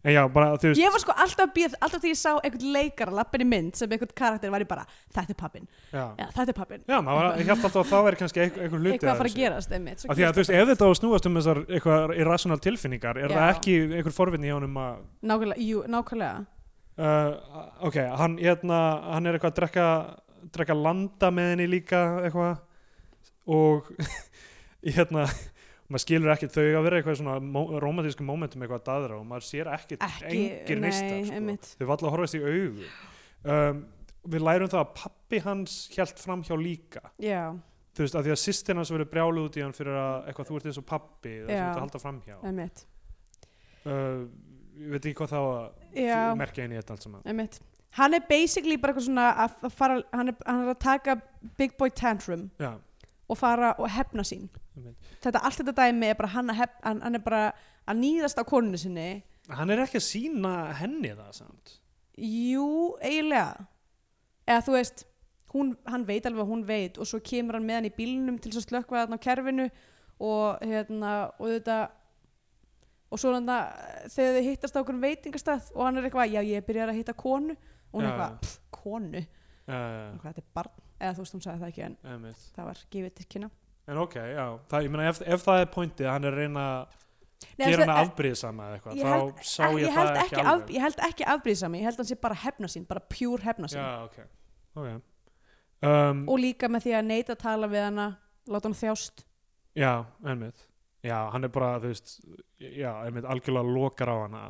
C: en já, bara, þú veist
B: ég var sko alltaf að býð, alltaf því ég sá einhvern leikara lappin í mynd sem einhvern karakter var ég bara þetta er pappin,
C: já.
B: já þetta er pappin
C: Já, maður var- ég held alltaf að það væri kannski einhver, einhver hluti
B: eitthvað að fara að
C: þessu.
B: gerast einmitt svo
C: Af því að
B: gerist
C: þú veist, ef þetta á að snúast um þessar eitthvað irrational tilfinningar, er
B: Já.
C: það ekki einhver forvinni hjá honum að
B: það. nákvæmlega, jú, nákvæmlega
C: uh, ok, hann, hérna, hann er eitthvað að drekka, drekka landa með henni líka eitthvað og hérna maður skilur ekkert þau að vera eitthvað svona mó- romantísku momentum eitthvað að daðra og maður sér ekkert
B: Ekki,
C: engir
B: nei,
C: neistar sko.
B: einmitt.
C: þau var alltaf að horfast í augu um, við lærum það að pappi hans hjælt fram hjá líka
B: já,
C: þú veist, af því að sýstin hans verið brjálu út í hann fyrir að eitthvað þú ert eins og pappi það sem
B: Já.
C: þetta halda framhjá uh,
B: einmitt
C: ég veit ekki hvað þá að
B: Já.
C: merkja inn í þetta allt saman
B: einmitt hann er basically bara eitthvað svona að að fara, hann er, hann er að taka big boy tantrum
C: já,
B: og fara og hefna sín
C: einmitt.
B: þetta, allt þetta dæmi er bara hann, að hef, hann, hann er bara að nýðast á konunni sinni
C: hann er ekki að sína henni það samt
B: Jú, eiginlega eða þú veist hún, hann veit alveg að hún veit og svo kemur hann með hann í bílnum til þess að slökkva þarna á kerfinu og hérna og þetta og svo hann þegar þau hittast á okkur veitingastað og hann er eitthvað, já ég byrjar að hitta konu og hún er
C: Já.
B: eitthvað, pff, konu
C: uh,
B: eitthvað, þetta er barn, eða þú veist hún sagði það ekki en
C: einmitt.
B: það var gefið til kynna
C: en ok, já það, ég meina ef, ef það er pointið að hann er að reyna
B: Nei,
C: að
B: þú
C: gera hann
B: veist, eh,
C: afbríðsama eða eitthvað
B: ég held-
C: þá sá ég,
B: ég held
C: það ekki,
B: ekki af,
C: alveg
B: ég held ekki afbrýðsami, ég held hann sé bara hefna sín bara pjúr hefna sín
C: já, ok, okay. Um,
B: og líka með því að neita að tala við hana láta hann þjást
C: Já, einmitt Já, hann er bara, þú veist Já, einmitt, algjörlega lokar á hana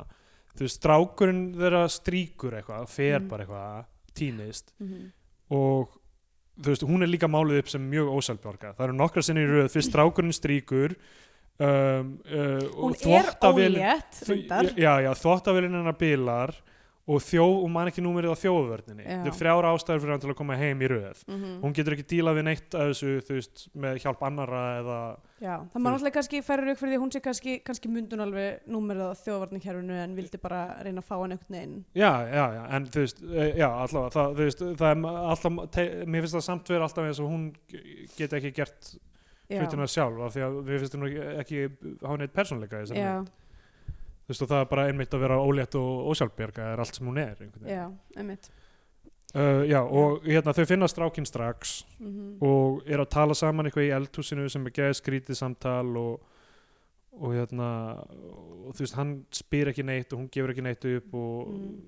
C: Þú veist, strákurinn þeirra stríkur eitthvað fer
B: Mhm.
C: bara eitthvað týnist
B: mm
C: og þú veist, hún er líka málið upp sem mjög ósælbjörga það eru nokkra sinni í röð, fyrst strákurinn stríkur um, uh,
B: hún
C: og
B: er
C: þvottavélin-
B: ólétt reyndar
C: Já, já, þvóttavélinn hennar bílar og þjóð, og man ekki númerið á þjóðvörninni
B: Já.
C: þetta er þrjár ástæður fyrir hann til að koma heim í röð
B: Mhm.
C: hún getur ekki dílað við neitt að þessu, þú veist, með hjálp annara eða
B: já, það maður alltaf kannski færir auk fyrir því að hún sé kannski, kannski mundun alveg númerið á þjóðvarnarkerfinu en vildi bara reyna að fá hann einhvern veginn
C: Já, já, já, en þú veist, eh, já, allavega, það, þú veist, það er ma- alltaf, te- mér finnst það samt vera alltaf eins og hún geti ekki gert
B: já,
C: hlutina sjálf af því að við finnst hún ekki- ekki hafa neitt persónleika í þessari mynd.
B: já,
C: Þú veist, og það er bara einmitt að vera ólétt og ósjálfbjörga er allt sem hún er, einhvern veginn.
B: já, einmitt
C: Uh, já, og hérna, þau finna strákinn strax
B: Mhm.
C: og eru að tala saman eitthvað í eldhúsinu sem er geðið skrítið samtal og, og hérna, og þú veist, hann spyr ekki neitt og hún gefur ekki neitt upp og
B: Mhm.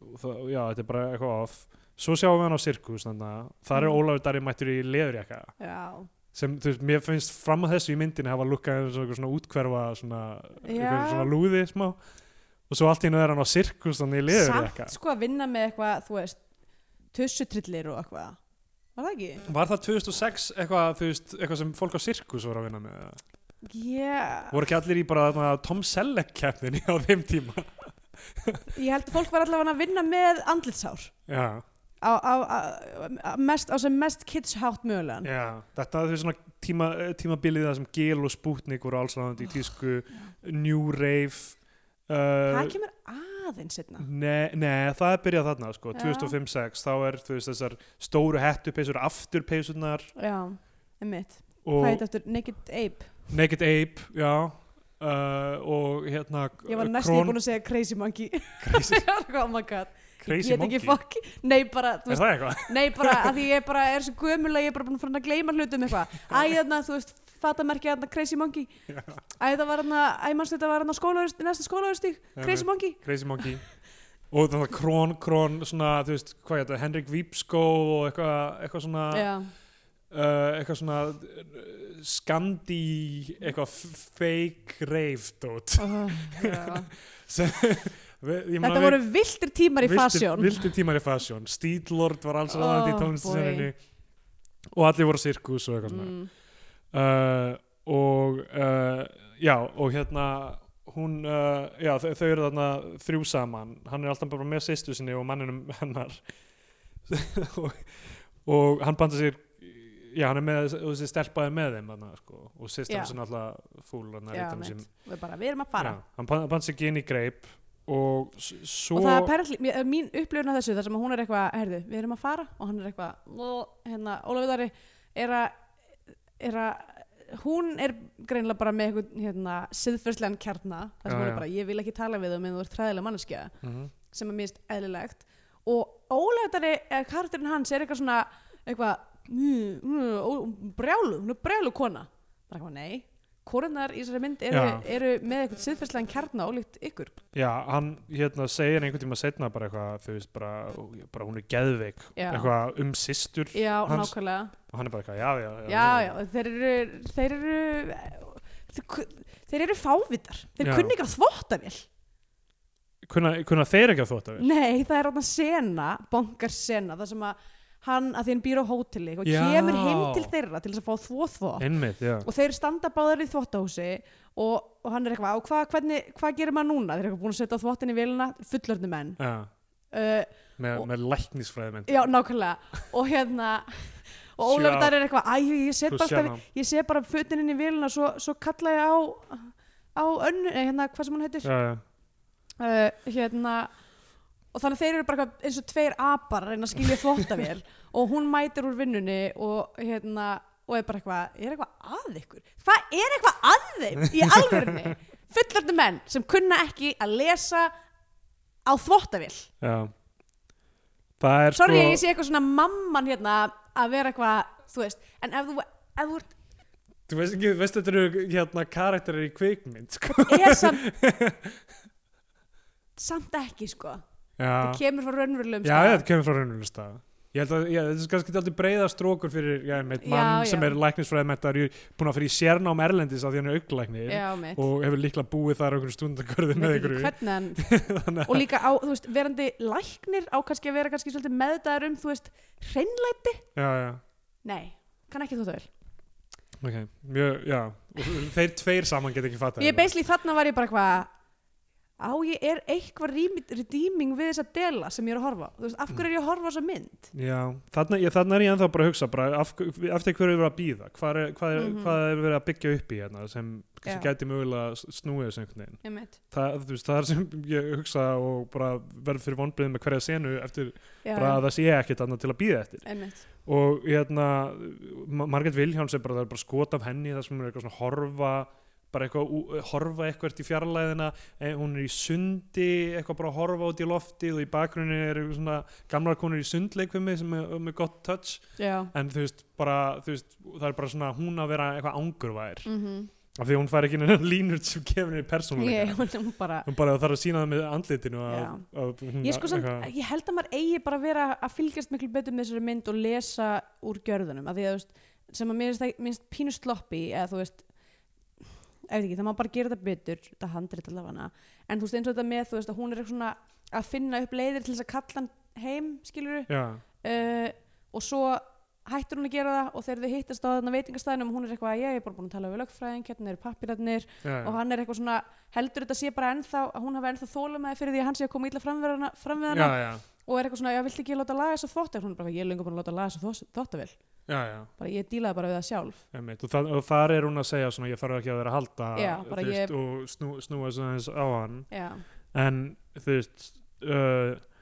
C: og það, já, þetta er bara eitthvað off svo sjáum við hann á sirkus þannig að það er
B: Mm.
C: Ólafur Darri mættur í leðurjaka
B: já,
C: sem, þú veist, mér finnst fram að þessu í myndinni hafa lukkað eins og einhver svona útkverfa svona, einhver
B: Já.
C: svona lúði smá og svo allt í einu er hann á sirkus þannig í leðurjaka
B: samt sko að vinna með eitthvað þú veist, tussutrillir og eitthvað var það ekki?
C: Var það 2006 eitthvað, þú veist, eitthvað sem fólk á sirkus voru að vinna með? eða?
B: Yeah.
C: Voru ekki allir í bara þarna, Tom Selleck keppninni á þeim tíma?
B: ég held að fólk var allavega að vinna með andlitsár
C: Já,
B: á, á, á, á, mest, á sem mest kidshátt mögulegan
C: já. Þetta er svona tíma, tímabilið það sem Gil og Sputnik voru allsráðandi í tísku, New Rave. Uh,
B: Hvað kemur að? aðeins setna
C: Nei, nei, það er byrjað þarna sko,
B: Já.
C: 2005-06, þá er þú veist þessar stóru hettupeysur, afturpeysunar
B: já, einmitt, hvað
C: og
B: heit eftir Naked Ape
C: Naked Ape, já uh, og hérna
B: ég var næstu búin að segja Crazy Monkey
C: Crazy,
B: oh my god, ég
C: crazy
B: get
C: Monkey
B: ekki fokk nei bara, þú
C: Er
B: veist,
C: það eitthvað?
B: nei bara að því ég bara er svo gömulega, ég er bara búin að fara að gleyma hlutum eitthvað, æ þarna, þú veist fatamerkja þarna Crazy Monkey æ það var þarna, æ mannstu þetta var þarna skólaverst næsta skólaverstíg, Crazy Monkey
C: Crazy Monkey og það var krón, krón, svona þú veist, hvað er þetta, Henrik Vípskó og eitthvað eitthva svona
B: já,
C: uh, eitthvað svona uh, skandi, eitthvað f- fake rave dot
B: oh, já.
C: Sem- við- ég meina,
B: Þetta
C: við-
B: voru viltir tímar í
C: Vildir-
B: fasjón
C: Vildir tímar í fasjón, Stílord var alls
B: Oh,
C: aðandi í
B: boy.
C: tónlistasenninu og allir voru sirkus og eitthvað svona
B: Mm.
C: uh, og uh, já, og hérna hún, uh, já þau, þau eru þarna þrjú saman, hann er alltaf bara með sýstu sinni og manninum hennar og, og hann banda sér já, hann er með, og þessi stelpaði með þeim þarna, sko, og
B: Já.
C: sýstan sem alltaf fúl, hann er
B: Já,
C: eitthvað sem
B: mitt. Við bara, við erum að fara
C: já, hann banda sér ginn í greip og s- svo
B: Og það er perli, mér- eh, mín upplifun af þessu þar sem hún er eitthvað, herðu, við erum að fara og hann er eitthvað, "Ló," hérna, Ólafur Dari er að er að, hún er greinilega bara með eitthvað, hérna, siðfyrslegan kjarna þar sem
C: Já,
B: hún
C: já.
B: er bara, ég vil ekki tala við um en þú ert træðilega manneskja
C: Mhm.
B: sem er mist eðlilegt og Ólafur Dari, eh, karakterinn hans er eitthvað svona, eitthvað mm, mm, ó- brjálu, hún er brjálu kona bara eitthvað, nei korunar í þessari mynd eru, eru með eitthvað siðfyrslegan kjarna ólíkt ykkur
C: Já, hann hérna segir einhvern tíma setna bara eitthvað, þú veist, bara, bara hún er geðveik,
B: Já.
C: eitthvað um systur
B: já,
C: Hans-
B: nákvæmlega
C: og hann er bara eitthvað, já, já,
B: já, já, þeir eru þeir eru þeir- þeir eru fávitar, þeir
C: Já.
B: kunni ekki að þvotta vel
C: Kunna, kunna þeir ekki að þóta við?
B: nei, það er þarna sena bongar sena, það sem að hann að því hann býr á hóteli og
C: Já.
B: kemur heim til þeirra til þess að fá þvóþvó
C: Einmitt, já.
B: og þeir standa báðar í þvottahúsi og, og hann er eitthvað, og hvað, hvernig, hvað gerir maður núna þeir eru eitthvað búin að setja þvottin í vélina fullörnum menn
C: já.
B: uh,
C: Með,
B: Og-
C: með læknisfræðmynd.
B: já, nákvæmlega og hérna og
C: Sjá.
B: Ólafur Darri er eitthvað, æ, ég- ég set bara alltaf
C: Sjá,
B: ég sé bara fötin inn í vélina svo, svo kalla ég á á önnu, eh, hérna, hvað sem hún heitir
C: já, já.
B: uh, hérna og þannig að þeir eru bara eitthvað eins og tveir apar að reyna að skilja þvottavél og hún mætir úr vinnunni og hérna og er bara eitthvað, er eitthvað að ykkur hvað er eitthvað að þeim í alvörunni fullardu menn sem kunna ekki að lesa á þvottavél
C: já. Það er
B: sorry
C: sko...
B: að ég sé eitthvað svona mamman hérna að vera eitthvað, þú veist en ef þú, ef þú ert
C: Þú veist ekki, veist þetta eru hérna karakterir í kvikmynd, sko.
B: er samt samt ekki sko
C: Já,
B: það kemur frá raunverulegum
C: já,
B: stað.
C: já, þetta kemur frá raunulegu stað. Ég held að, já, þetta er kannski aldrei breiða strókur fyrir, já, einmitt,
B: Já,
C: mann
B: já.
C: sem er læknisfræðmyndar, búin að fyrir sérnám Erlendis af því hann er auglæknir.
B: já, mitt
C: og hefur líklega búið þar okkur stundakörðu
B: Veit
C: með
B: ekki
C: ykkur
B: hvernig hann,
C: þannig
B: og líka á, þú veist, verandi læknir á kannski að vera kannski svolítið meðdagur um, þú veist, hreinlega,
C: að já, já,
B: nei, kann ekki þú það vel.
C: ok, mjög, já og þeir tveir saman get ekki fatta
B: Ég beisli þarna var ég bara eitthvað, á ég er eitthvað rými- redeeming við þessa dela sem ég er að horfa á, þú veist, af hverju er ég að horfa á þessa mynd?
C: já, þarna, ég, þarna er ég ennþá bara að hugsa bara af, eftir hverju er verið að býða hvað er, hvað, er,
B: Mhm.
C: hvað er verið að byggja upp í hérna sem,
B: Já.
C: sem gæti mögulega s- snúið þessu einhvern veginn
B: Einmitt.
C: það, þú veist, það er sem ég hugsa og bara verð fyrir vonbriðum með hverja senu eftir
B: Já,
C: bara að það sé ekkert annað til að býða eftir
B: einmitt.
C: og hérna Ma- Margrét Vilhjáns er bara, það er bara skot af henni þar sem hún er eitthvað svona horfa bara eitthvað, ú- horfa eitthvað í fjarlæðina eh, hún er í sundi eitthvað bara að horfa út í loftið og í bakgrunni er eitthvað svona gamlar konur í sundleikfimi sem er með gott touch
B: Já.
C: en þú veist, bara, þú veist, það er bara svona hún að vera eitthvað angurvær
B: Mm
C: af því að hún fær ekki neina línur sem kemur henni persónuleika
B: Ég, hún bara,
C: hún bara þarf að sína það með andlitinu að,
B: Já.
C: að hún
B: Ég, sko samt,
C: eitthvað-
B: ég held að maður eigi bara að vera að fylgjast miklu betur með þessari mynd og lesa úr gjörðunum að því að þú veist, sem að mér finnst það- mér finnst pínu sloppy eða þú veist ef ekki, það má bara gera þetta betur þetta handrið allavega en þú veist eins og þetta með þú veist að hún er eitthvað svona að finna upp leiðir til þess að kalla hann heim skilur
C: já,
B: uh, og svo hættur hún að gera það og þegar þau hittast á þarna veitingastæðinum hún er eitthvað, ég er bara búin að tala við lögfræðing hérna eru pappirarnir
C: já, já.
B: og hann er eitthvað svona heldur þetta sé bara ennþá að hún hafi ennþá þólamæði fyrir því að hann sé að koma illa fram við hana, fram við hana
C: já, já,
B: og er eitthvað svona, já, viltu ekki láta laga þessa þvottavél hún er bara, ég er lengur búin að láta laga þessa þvottavél
C: já, já.
B: bara ég dílaði bara við það sjálf
C: Einmitt, og, það, og þar er hún að segja svona ég þarf ekki að vera að halda
B: Já, bara
C: þú
B: ég-
C: og snú, snúa svona aðeins á hann
B: já,
C: en þú veist uh,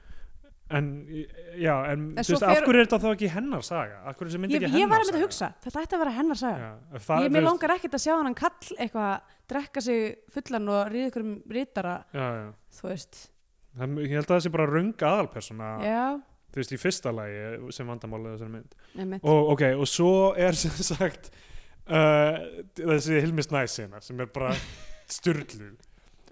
C: en já, en,
B: En
C: þú
B: svo
C: veist,
B: fer-
C: af hverju er þetta þá ekki hennar saga? Af hverju er þessi mynd
B: ég,
C: ekki
B: ég
C: hennar
B: var einmitt að hugsa, þetta ætti að vera hennar saga
C: Já, það,
B: ég mér langar ekkert að sjá hann kall eitthvað, drekka sig fullan og ríða ykkur um rítara
C: já, já.
B: þú veist,
C: Það, ég held að það sé bara rönga aðalpersona
B: já,
C: þú veist, í fyrsta lagi sem vandamálið þessari mynd
B: einmitt
C: og ok, og svo er sem sagt uh, þessi Hilmis Næsina sem er bara styrlu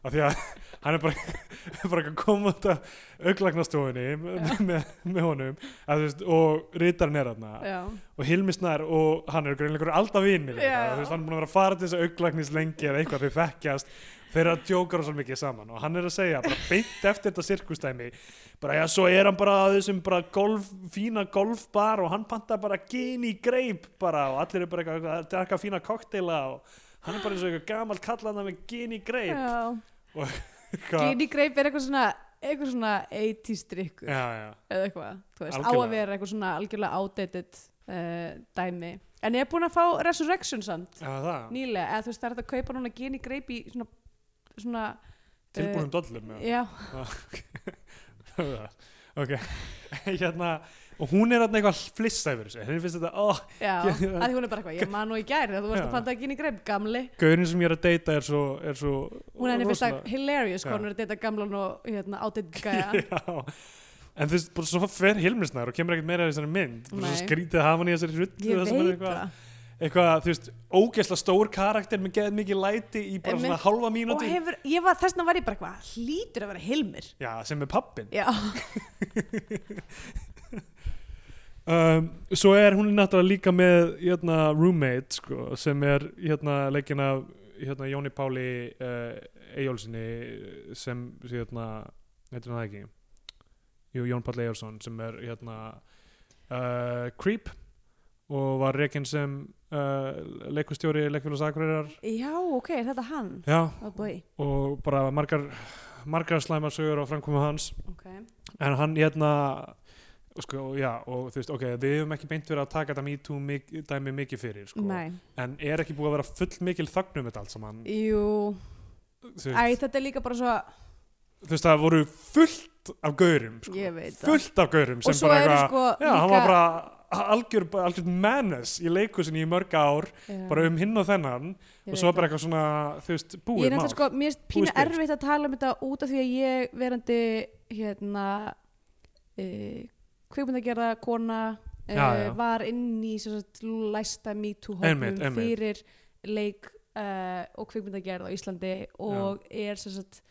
C: af því að hann er bara, bara að koma út af auglagnastofunni með, með, með honum að, þú veist, og rítarinn er þarna
B: já,
C: og Hilmi Snær og hann eru greinleikur alltaf vinnir
B: Já.
C: yeah. veist, hann er búin að vera að fara til þess að auglagnis lengi eða eitthvað þau þekkjast þeirra djókar og svo mikið saman og hann er að segja bara beint eftir þetta sirkustæmi bara já svo er hann bara að þessum bara golf, fína golfbar og hann panta bara gini greip bara og allir eru bara eitthvað að drakka fína kokteila og hann er bara eins og eitthvað gamalt kallanda með gini greip Sko-
B: já.
C: Eitthvað-
B: Gini Grape er eitthvað svona eitthvað svona 80s drikkur
C: já, já,
B: eða eitthvað, þú veist, á
C: Algjörlega.
B: að vera eitthvað svona algjörlega outdated uh, dæmi en ég er búin að fá Resurrection samt
C: já það
B: nýlega, eða þú veist, það er hægt að kaupa núna Gini Grape í svona, svona Eh,
C: tilbúinum dollum
B: já,
C: Það- ok hérna, og hún er þarna eitthvað flissa yfir þessu henni finnst þetta, ó,
B: já,
C: Já,
B: að
C: já.
B: því hún er bara eitthvað ég man nú í gæri að þú varst
C: Já.
B: að panta Gini Grape gamli
C: gaurin sem ég er að deyta er svo, er svo
B: hún er henni fyrst að
C: rosalega-
B: hilarious
C: Já.
B: hvað hún er að deyta gamlan og hérna, outdated gæja
C: já, en þú veist, bara svo fer Hilmisnar og kemur ekkert meira í þessari mynd Bara svo
B: Nei.
C: skrítið að hafa hann í þessari ruttu
B: ég
C: þar sem hann er
B: veit
C: eitthvað,
B: það
C: eitthvað, þú veist, ógeðsla stór karakter með geðið mikið læti í bara svona
B: Einmitt.
C: halva
B: og
C: mínúti
B: hefur, ég var, þessna var ég bara eitthvað hlýtur að vera Hilmir
C: já, sem er pappin
B: já,
C: um, svo er hún náttúrulega líka með hérna, roommate sko, sem er hérna, leikin af hérna, Jóni Páli uh, Eyjólfsinni sem hérna, heitir hann það ekki Jú, Jón Páll Eyjólfsson sem er hérna, uh, Creep og var reikinn sem uh, leikustjóri leikfélags Akureyrar
B: já, ok, er þetta hann
C: Já,
B: oh boy,
C: og bara margar, margar slæmar sögur á framkomu hans
B: ok
C: en hann hérna og sko, og já, og þú veist, ok, við höfum ekki beint verið að taka þetta MeToo mik dæmi mikið fyrir sko.
B: Nei,
C: en er ekki búið að vera full mikil þögnum þetta allt saman
B: jú,
C: þú
B: æ,
C: veist,
B: þetta er líka bara svo
C: þú veist, það voru fullt af gaurum sko.
B: Ég veit það.
C: fullt af gaurum
B: Og
C: sem
B: svo
C: bara
B: eru
C: eitthvað
B: sko
C: já, hann var bara algjör, bara algjör menes í leikusinni í mörg ár
B: Já,
C: bara um hinn og þennan
B: ég
C: og
B: veit
C: svo
B: það.
C: bara eitthvað svona, þú
B: Ég
C: veist,
B: er
C: búið mál
B: náttúrulega sko, mér er pínu
C: spil.
B: erfitt að tala um þetta út af því að ég verandi hérna e, kvikmyndagerða kona e,
C: Já, já.
B: var inn í sem sagt, læsta Me Too
C: Einmitt,
B: hópum
C: einmitt.
B: fyrir leik e, og kvikmyndagerð á Íslandi og er sem sagt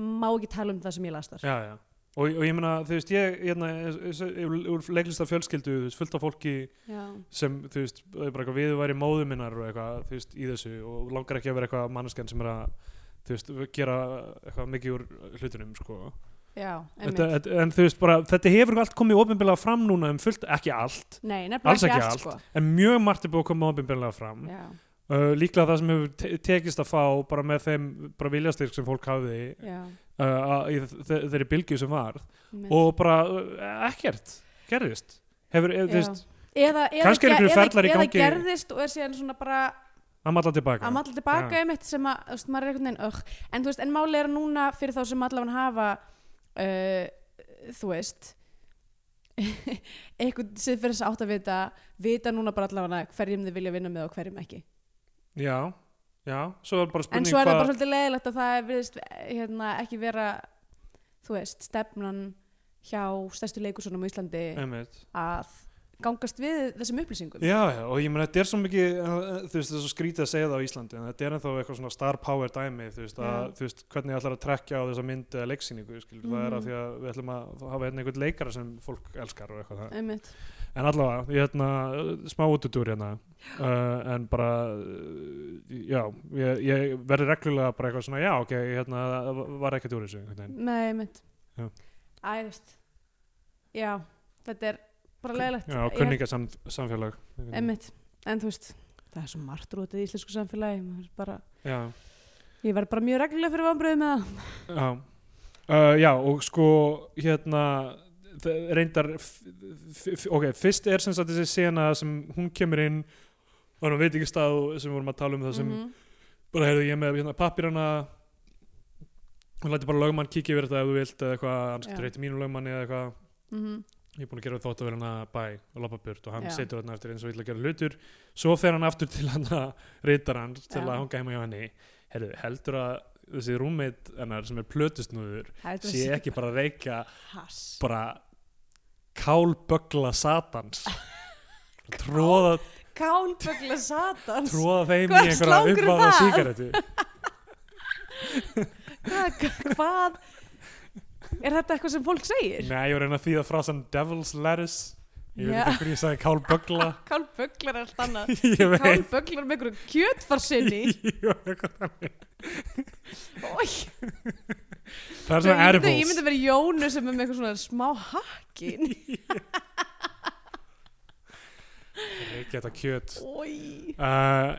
B: má ekki tala um það sem ég las þar
C: já, já. Og, og ég meina, þú veist, ég, ég, ég, ég, úr leiklista fjölskyldu, þú veist, fullt af fólki
B: Já.
C: sem þú veist, það er bara eitthvað við væri móðu minnar og eitthvað, þú veist, í þessu og langar ekki að vera eitthvað manneskjan sem er að þú veist, gera eitthvað mikið úr hlutunum, sko
B: Já,
C: þetta,
B: einmitt.
C: þetta- en þú veist, bara, þetta hefur allt komið ofinbjörlega fram núna, en fullt, ekki allt
B: Nei, nefnilega
C: alls
B: ekki,
C: ekki
B: allt,
C: allt, en mjög margt er búið að koma ofinbjörlega fram
B: sko. Já,
C: uh, líklega það sem hefur te tekist að fá bara með þeim, bara viljastyrk sem fólk hafði uh,
B: já
C: að- í þe- þe- þeirri bylgju sem var
B: einmitt.
C: og bara uh, ekkert gerðist, hefur, eh, þú
B: Já.
C: veist
B: eða, eða,
C: Kannski eru
B: ge-
C: einhverjir
B: eða-
C: ferlar í
B: eða
C: gangi.
B: gerðist og er síðan svona bara
C: að matla tilbaka
B: að matla tilbaka
C: Já.
B: um eitt sem að þú veist, maður er einhvern veginn ögh. en þú veist, en máli er að núna fyrir þá sem allavega hafa uh, þú veist eitthvað sem fyrir þess átt að vita vita núna bara allavega hverjum þið vilja vinna með og hverjum ekki
C: Já, já, svo er bara
B: en
C: spurning
B: svo er það
C: hvað-
B: bara svolítið leiðilegt að það virðist eh, hérna, ekki vera þú veist, stefnan hjá stærstu leikursunum á Íslandi
C: Einmitt.
B: að gangast við þessum upplýsingum
C: Já, já, og ég meina þetta er svo mikið uh, þú veist, það er svo skrítið að segja það á Íslandi en þetta er ennþá eitthvað svona star power dæmi þú veist, að,
B: Já.
C: þú veist hvernig ætlar að trekja á þessa mynd eða leiksýningu, skilur, það er
B: Mhm.
C: af því að við ætlum að hafa hérna einhvern leikara sem fólk elskar og eitthvað það,
B: einmitt
C: en allavega, ég hérna uh, smá útudúr hérna uh, en bara, uh, já ég, ég verði reglulega bara eitthvað svona já, ok, hérna, það var ekkert úr þessu einhvern veginn.
B: Nei, mitt
C: Já.
B: Æ, þú veist Já, þetta er bara leðilegt
C: Já, kunningja samfélag
B: Einmitt, en þú veist Það er svo margt rútið í íslensku samfélagi maður er bara,
C: Já
B: Ég verð bara mjög reglulega fyrir vambröðu með það
C: Já, uh, já og sko hérna þe- reyndar f- f- ok, fyrst er sem sagt þessi sena sem hún kemur inn og hann veit ekki stað og sem við vorum að tala um það sem
B: Mhm.
C: bara heyrðu ég er með hérna, pappirana og læti bara lögmann kíkja yfir þetta ef þú vilt eða eitthvað, hann
B: Já.
C: getur heiti mínum lögmanni eða eitthvað
B: mm
C: ég er búin að gera þótt að vera hana bæ og lappa burt og hann
B: Já.
C: situr hann eftir eins og vill að gera hlutur svo fer hann aftur til hann að reytar hann til
B: Já.
C: að hanga heima hjá henni Heru, heldur að þessi roommate hennar sem er plötusnúður sé ekki bara að reyka
B: hass
C: bara kálböggla satans tróða,
B: Kálböggla satans
C: tróða þeim
B: Hvers
C: í einhverja
B: langur er
C: uppáða
B: það?
C: sígarettu
B: Hvað, hvað Er þetta eitthvað sem fólk segir?
C: Nei, ég var að reyna að þýða frásan Devil's Lettuce Ég veit
B: Já.
C: ekki hvernig ég sagði kálböggla
B: Kálbögglar er allt annað
C: Ég veit
B: Kálbögglar með einhverju kjötfarsinni
C: Jú, eitthvað þannig.
B: Ói
C: Það er
B: Ég
C: svona
B: myndi, ég
C: edibles
B: myndi verið Jónu sem er með eitthvað svona smá hakkin
C: Ekki þetta kjöt uh,
B: Ói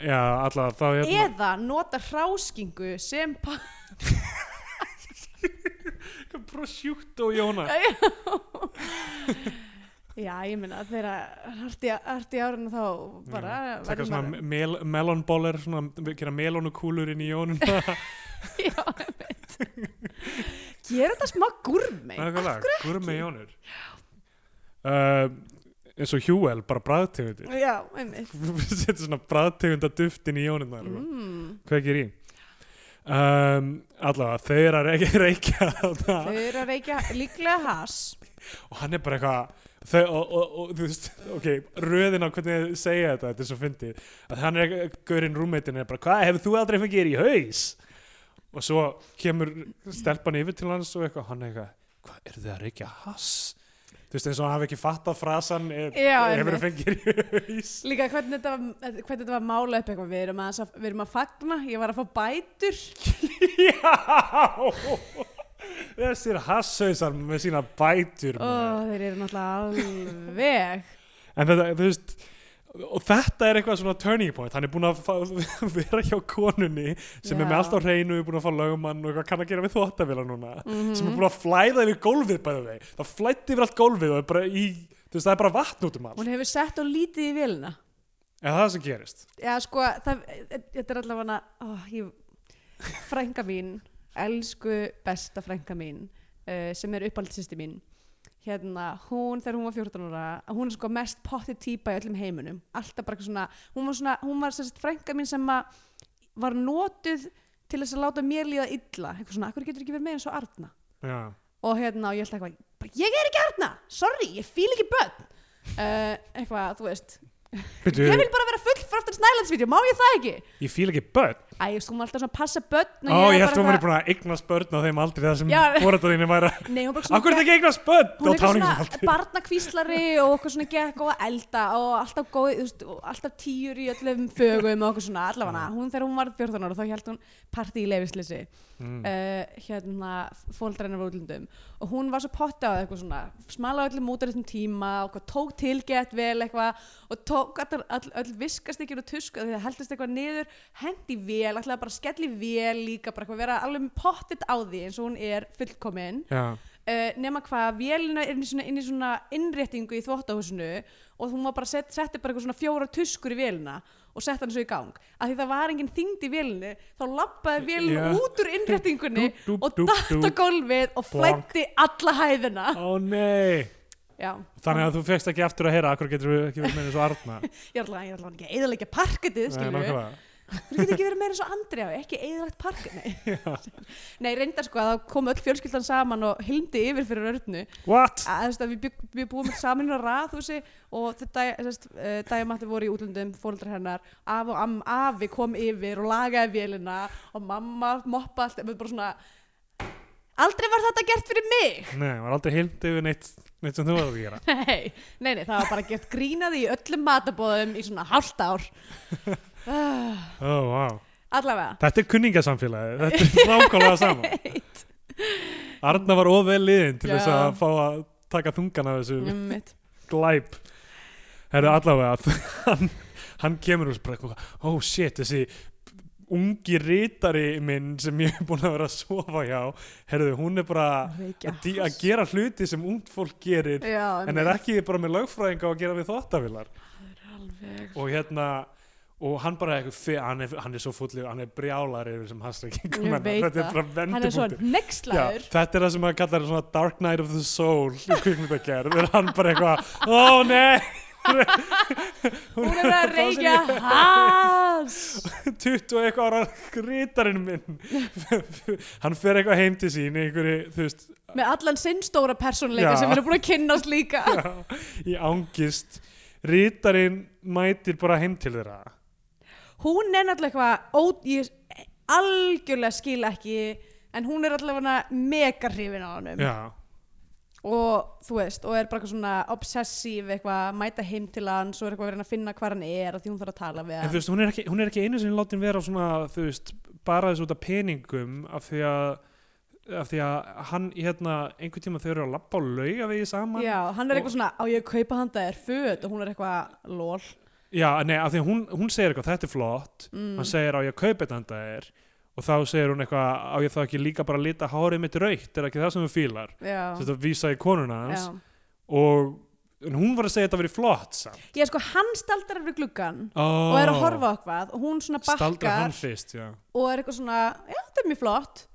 C: Já, allavega þá hérna
B: Eða nota hráskingu sem pa-
C: Eitthvað prosciutto Jóna
B: Já, ég meina þegar harti, harti árinu þá bara
C: Takka
B: verður maður-
C: svona mel melonbóler svona, gera melonukúlur inn í Jónun
B: Já, ég veit Gera þetta smá gurmi
C: Nákvæmlega, gurmi Jónur uh, eins og Hjúel, bara bræðtegundir
B: Já, einmitt
C: Setur svona bræðtegunda duftin í Jónun
B: mm,
C: hvað ekki er í um, allavega þau eru að reykja, reykja þarna
B: Þau eru að reykja líklega hass
C: og hann er bara eitthvað þau, og, og, og þú veist, ok, röðin á hvernig þau segja þetta, þetta er svo fyndið að hann er, gaurinn rúmmeitinn er bara hvað, hefur þú aldrei fengið þér í haus og svo kemur stelpan yfir til hans og eitthvað, hann er eitthvað hvað, eru þið að reykja hass þú veist, eins og hann hafi ekki fattað frasan
B: Já,
C: hefur þið fengið þér í haus
B: Líka hvernig þetta, var- hvernig þetta var mála upp eitthvað Við erum, aðeins að, við erum að fagna, ég var að fá bætur
C: já þessir hasshausar með sína bætur maður.
B: og þeir eru náttúrulega alveg
C: En þetta, þú veist og þetta er eitthvað svona turning point hann er búin að fá, vera hjá konunni sem er
B: Já.
C: með allt á hreinu, er búin að fá lögumann og hvað kann að gera við þvóttavila núna
B: Mhm.
C: sem er búin að flæða yfir gólfið bæði vei það flætti yfir allt gólfið og er bara í þú veist, það er bara vatn út um allt
B: Hún hefur sett á lítið í vélina
C: eða það sem gerist
B: Já, sko, það, þetta er allavega ó, ég, frænka mín elsku besta frænka mín uh, sem er uppaldsýsti mín hérna, hún þegar hún var 14 ára hún er sko mest pottið típa í öllum heiminum alltaf bara eitthvað svona hún var, svona, hún var sérst frænka mín sem að var notuð til þess að láta mér líða illa eitthvað svona, akkur getur ekki verið með eins og Arna
C: já,
B: og hérna og ég held eitthvað bara, ég er ekki Arna, sorry, ég fíl ekki börn uh, eitthvað, þú veist
C: Bittu,
B: ég vil bara vera full frá aftur snælandsvídeó, má ég það ekki?
C: ég fíl ekki börn
B: Æ, ég sko, hún var alltaf svona að passa börn og
C: ó,
B: var
C: ég held
B: bara
C: að hún er búin að eignast börn á þeim aldrei það sem
B: Já.
C: fórölda þín væri
B: eitthvað- Nei, hún bara
C: akkur er þetta ekki eignast
B: Hún
C: börn á
B: er eitthvað
C: táningaldi
B: svona barnakvíslari og okkur svona gekk og elda og alltaf, góð, þú veist, og alltaf tíur í öllum fögum og okkur svona allavega hún þegar hún var 14 ára þá held hún partí í leifisleysi
C: Mm.
B: uh, hérna fóldrennar voru útlundum og hún var svo potti á það eitthvað svona smala öllum út á þessum tíma og hvað tók tilgett vel eitthvað og tók all, all, öll viskastikir og tusk því það heldist eitthvað niður hendi vel, alltaf bara skelli vel líka bara eitthvað vera alveg pottit á því eins og hún er fullkomin
C: já,
B: uh, nema hvað, vélina er inn í svona, inn í svona innréttingu í þvóttahúsinu og hún var bara sett, setti bara eitthvað svona fjóra tuskur í vélina og sett hann svo í gang af því það var engin þyngd í vélinu þá lappaði vélinu
C: Já.
B: út úr innréttingunni
C: Dúb, dúb,
B: og
C: dúb,
B: datt á
C: dúb.
B: gólfið og
C: Bonk.
B: flætti alla hæðina
C: ó nei
B: já,
C: Þannig að þú fegst ekki aftur að heyra, akkur getur við ekki verið með eins og Arna.
B: ég er allavega ég er allavega ekki eðalega parketið, skilur
C: Nei,
B: við
C: nákvæmlega.
B: þú getur ekki verið meira eins og Andri á ekki eðalegt parketið nei, reyndar sko að þá kom öll fjölskyldan saman og hildi yfir fyrir örnu
C: What?
B: að, þú veist, að við, bygg, við búum saman í raðhúsi og þetta dæmatti eh, voru í útlöndum fóreldrar hennar af og am, afi kom yfir og lagaði vélina og mamma moppa allt við bara svona aldrei var þetta gert fyrir mig
C: Nei, maður er aldrei hild yfir neitt, neitt sem þú var að gera.
B: nei, nei, nei, það var bara gert grínaði í öllum matabóðum í svona hálft ár uh,
C: Oh, wow.
B: allavega
C: Þetta er kunningasamfélagið, þetta er nákvæmlega saman. Arna var ofvel liðin til þess
B: Já.
C: að fá að taka þungan af þessu
B: Einmitt.
C: glæp. Herru, allavega, hann, hann kemur úr bara eitthvað, oh shit, þessi ungi rítari minn sem ég er búin að vera að sofa hjá, herru, hún er bara
B: Reykja.
C: að, dí- að gera hluti sem ungt fólk gerir
B: Já,
C: en er ekki bara með lögfræðinga að gera við þóttavilar
B: alveg
C: og hérna og hann bara eitthvað fe- hann er, hann er svo fullið, hann er brjálar yfir þessum
B: Ég
C: hasreikingum
B: veit
C: þetta er
B: það.
C: bara
B: hann er svo
C: vendipunktur
B: nexlaður
C: þetta er það sem hann kallar svona Dark Knight of the Soul í kvikmyndagerð er hann bara eitthvað, ó nei
B: hún er að reykja hans
C: 20 og eitthvað ára grítarinn minn hann fer eitthvað heim til sín í einhverju, þú veist,
B: með allan sinn stóra persónuleika
C: Já.
B: sem við erum búin að kynnast líka
C: í angist rítarinn mætir bara heim til þeirra
B: hún er náttúrulega eitthvað ó, ég algjörlega skil ekki en hún er allavega mega hrifin á honum
C: já,
B: og þú veist, og er bara eitthvað svona obsessív eitthvað, mæta heim til hann svo er eitthvað að reyna að finna hvað hann er af því hún þarf að tala við
C: en
B: hann
C: þú veist, hún er ekki, hún er ekki einu sinni látin vera svona, þú veist, bara þessu út af peningum af því að af því að hann, hérna, einhvern tíma þau eru að labba á laugavegi saman
B: já, hann er
C: og-
B: eitthvað svona, á ég að kaupa handa þér föt og hún er eitthvað lol
C: já nei, af því að hún, hún segir eitthvað, þetta er flott
B: Mm.
C: hann segir á ég að kaupa þetta handa þér og þá segir hún eitthvað, á ég þá ekki líka bara að lita hárið mitt raukt, er ekki það sem þú fílar
B: já,
C: þetta vísa í konuna hans
B: já.
C: og en hún var að segja að þetta verið flott samt
B: ég sko, hann staldrar við gluggan
C: oh.
B: og er að horfa á eitthvað og hún svona
C: Staldra
B: bakkar
C: hann fyrst, já,
B: og er eitthvað svona, já, þetta er mjög flott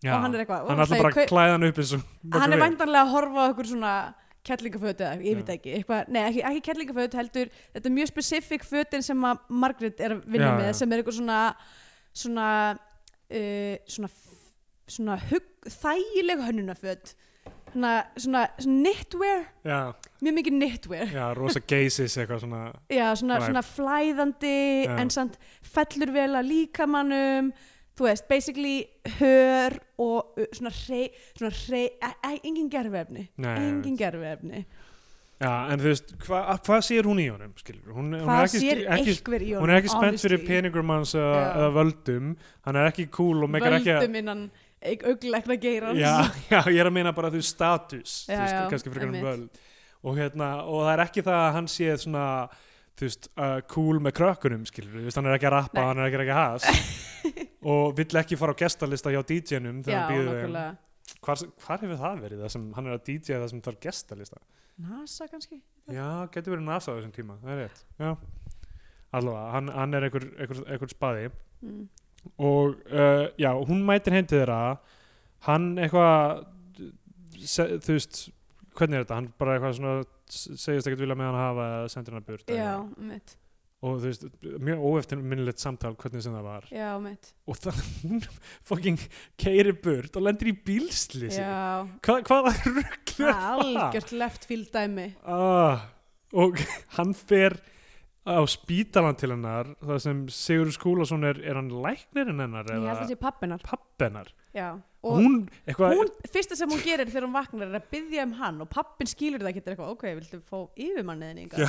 C: já.
B: og hann er eitthvað,
C: hann ætla
B: ætla ég
C: bara að
B: kaup-
C: klæða hann upp eins og
B: hann er
C: við.
B: væntanlega að horfa á eitthvað svona kettlingafötu eða ég veit
C: Já.
B: ekki, eitthvað, nei ekki, ekki kettlingafötu heldur þetta er mjög spesifik fötin sem að Margrét er að vinna
C: Já,
B: með
C: já.
B: sem er eitthvað svona svona uh, svona, svona hug, þægileg hönnunaföt svona, svona, svona knitwear
C: já,
B: mjög mikið knitwear
C: já, rosa geisis eitthvað svona
B: já, svona,
C: Vibe.
B: svona flæðandi
C: Já.
B: en samt fellur vel að líkamannum þú veist, basically hör og uh, svona hrei, svona hrei e e engin gerfefni
C: Nei,
B: engin gerfefni
C: já, en þú veist, hva, að- hvað sér hún í honum skilur, hún, hún
B: hvað
C: er ekki,
B: sér
C: ekki
B: einhver í honum
C: hún er ekki spennt fyrir
B: honestly?
C: peningum hans eða
B: Já.
C: eða völdum hann er ekki cool og megar ekki að
B: völdum innan auglekna geirans
C: já, já, ég er að meina bara þú veist, status
B: Já,
C: þú veist,
B: já,
C: kannski frekar um
B: einmitt.
C: völd og, hérna, og það er ekki það að hann sé svona þú veist, uh, cool með krökkunum skilur, þú veist, hann er ekki að rappa,
B: Nei.
C: hann er ekki að ekki has og vill ekki fara á gestalista hjá DJ-num þegar
B: já
C: hann býður þeim
B: nákvæmlega
C: hvar, hvar hefur það verið það sem hann er að DJ það sem þarf gestalista
B: NASA kannski
C: já, getur verið NASA á þessum tíma, það er rétt já, allavega, hann, hann er einhver, einhver, einhver spaði
B: mm.
C: og uh, já, hún mætir heim til þeirra hann eitthvað se- þú veist, hvernig er þetta hann bara eitthvað svona s- segist ekkert vilja með hann hafa eða sendir hann að burt
B: já,
C: eða-
B: mitt
C: og þú veist, mjög óeftirminnilegt samtal hvernig sem það var
B: já, mitt
C: og það, hún fucking keiri burt og lendir í bílslýsi
B: já,
C: Hva, hvaða rugglu
B: það er algjört left field dæmi
C: ah, og hann fer á spítalan til hennar það sem Sigur Skúlason er, er hann læknirinn hennar
B: ég held
C: eða
B: að sé pappinar
C: pappennar
B: já og
C: hún, eitthvað,
B: hún, fyrsta sem hún gerir þegar hún vaknar er að byggja um hann og pappin skilur það ekki þetta er eitthvað, ok, viltu fá yfirmanniðin
C: Já.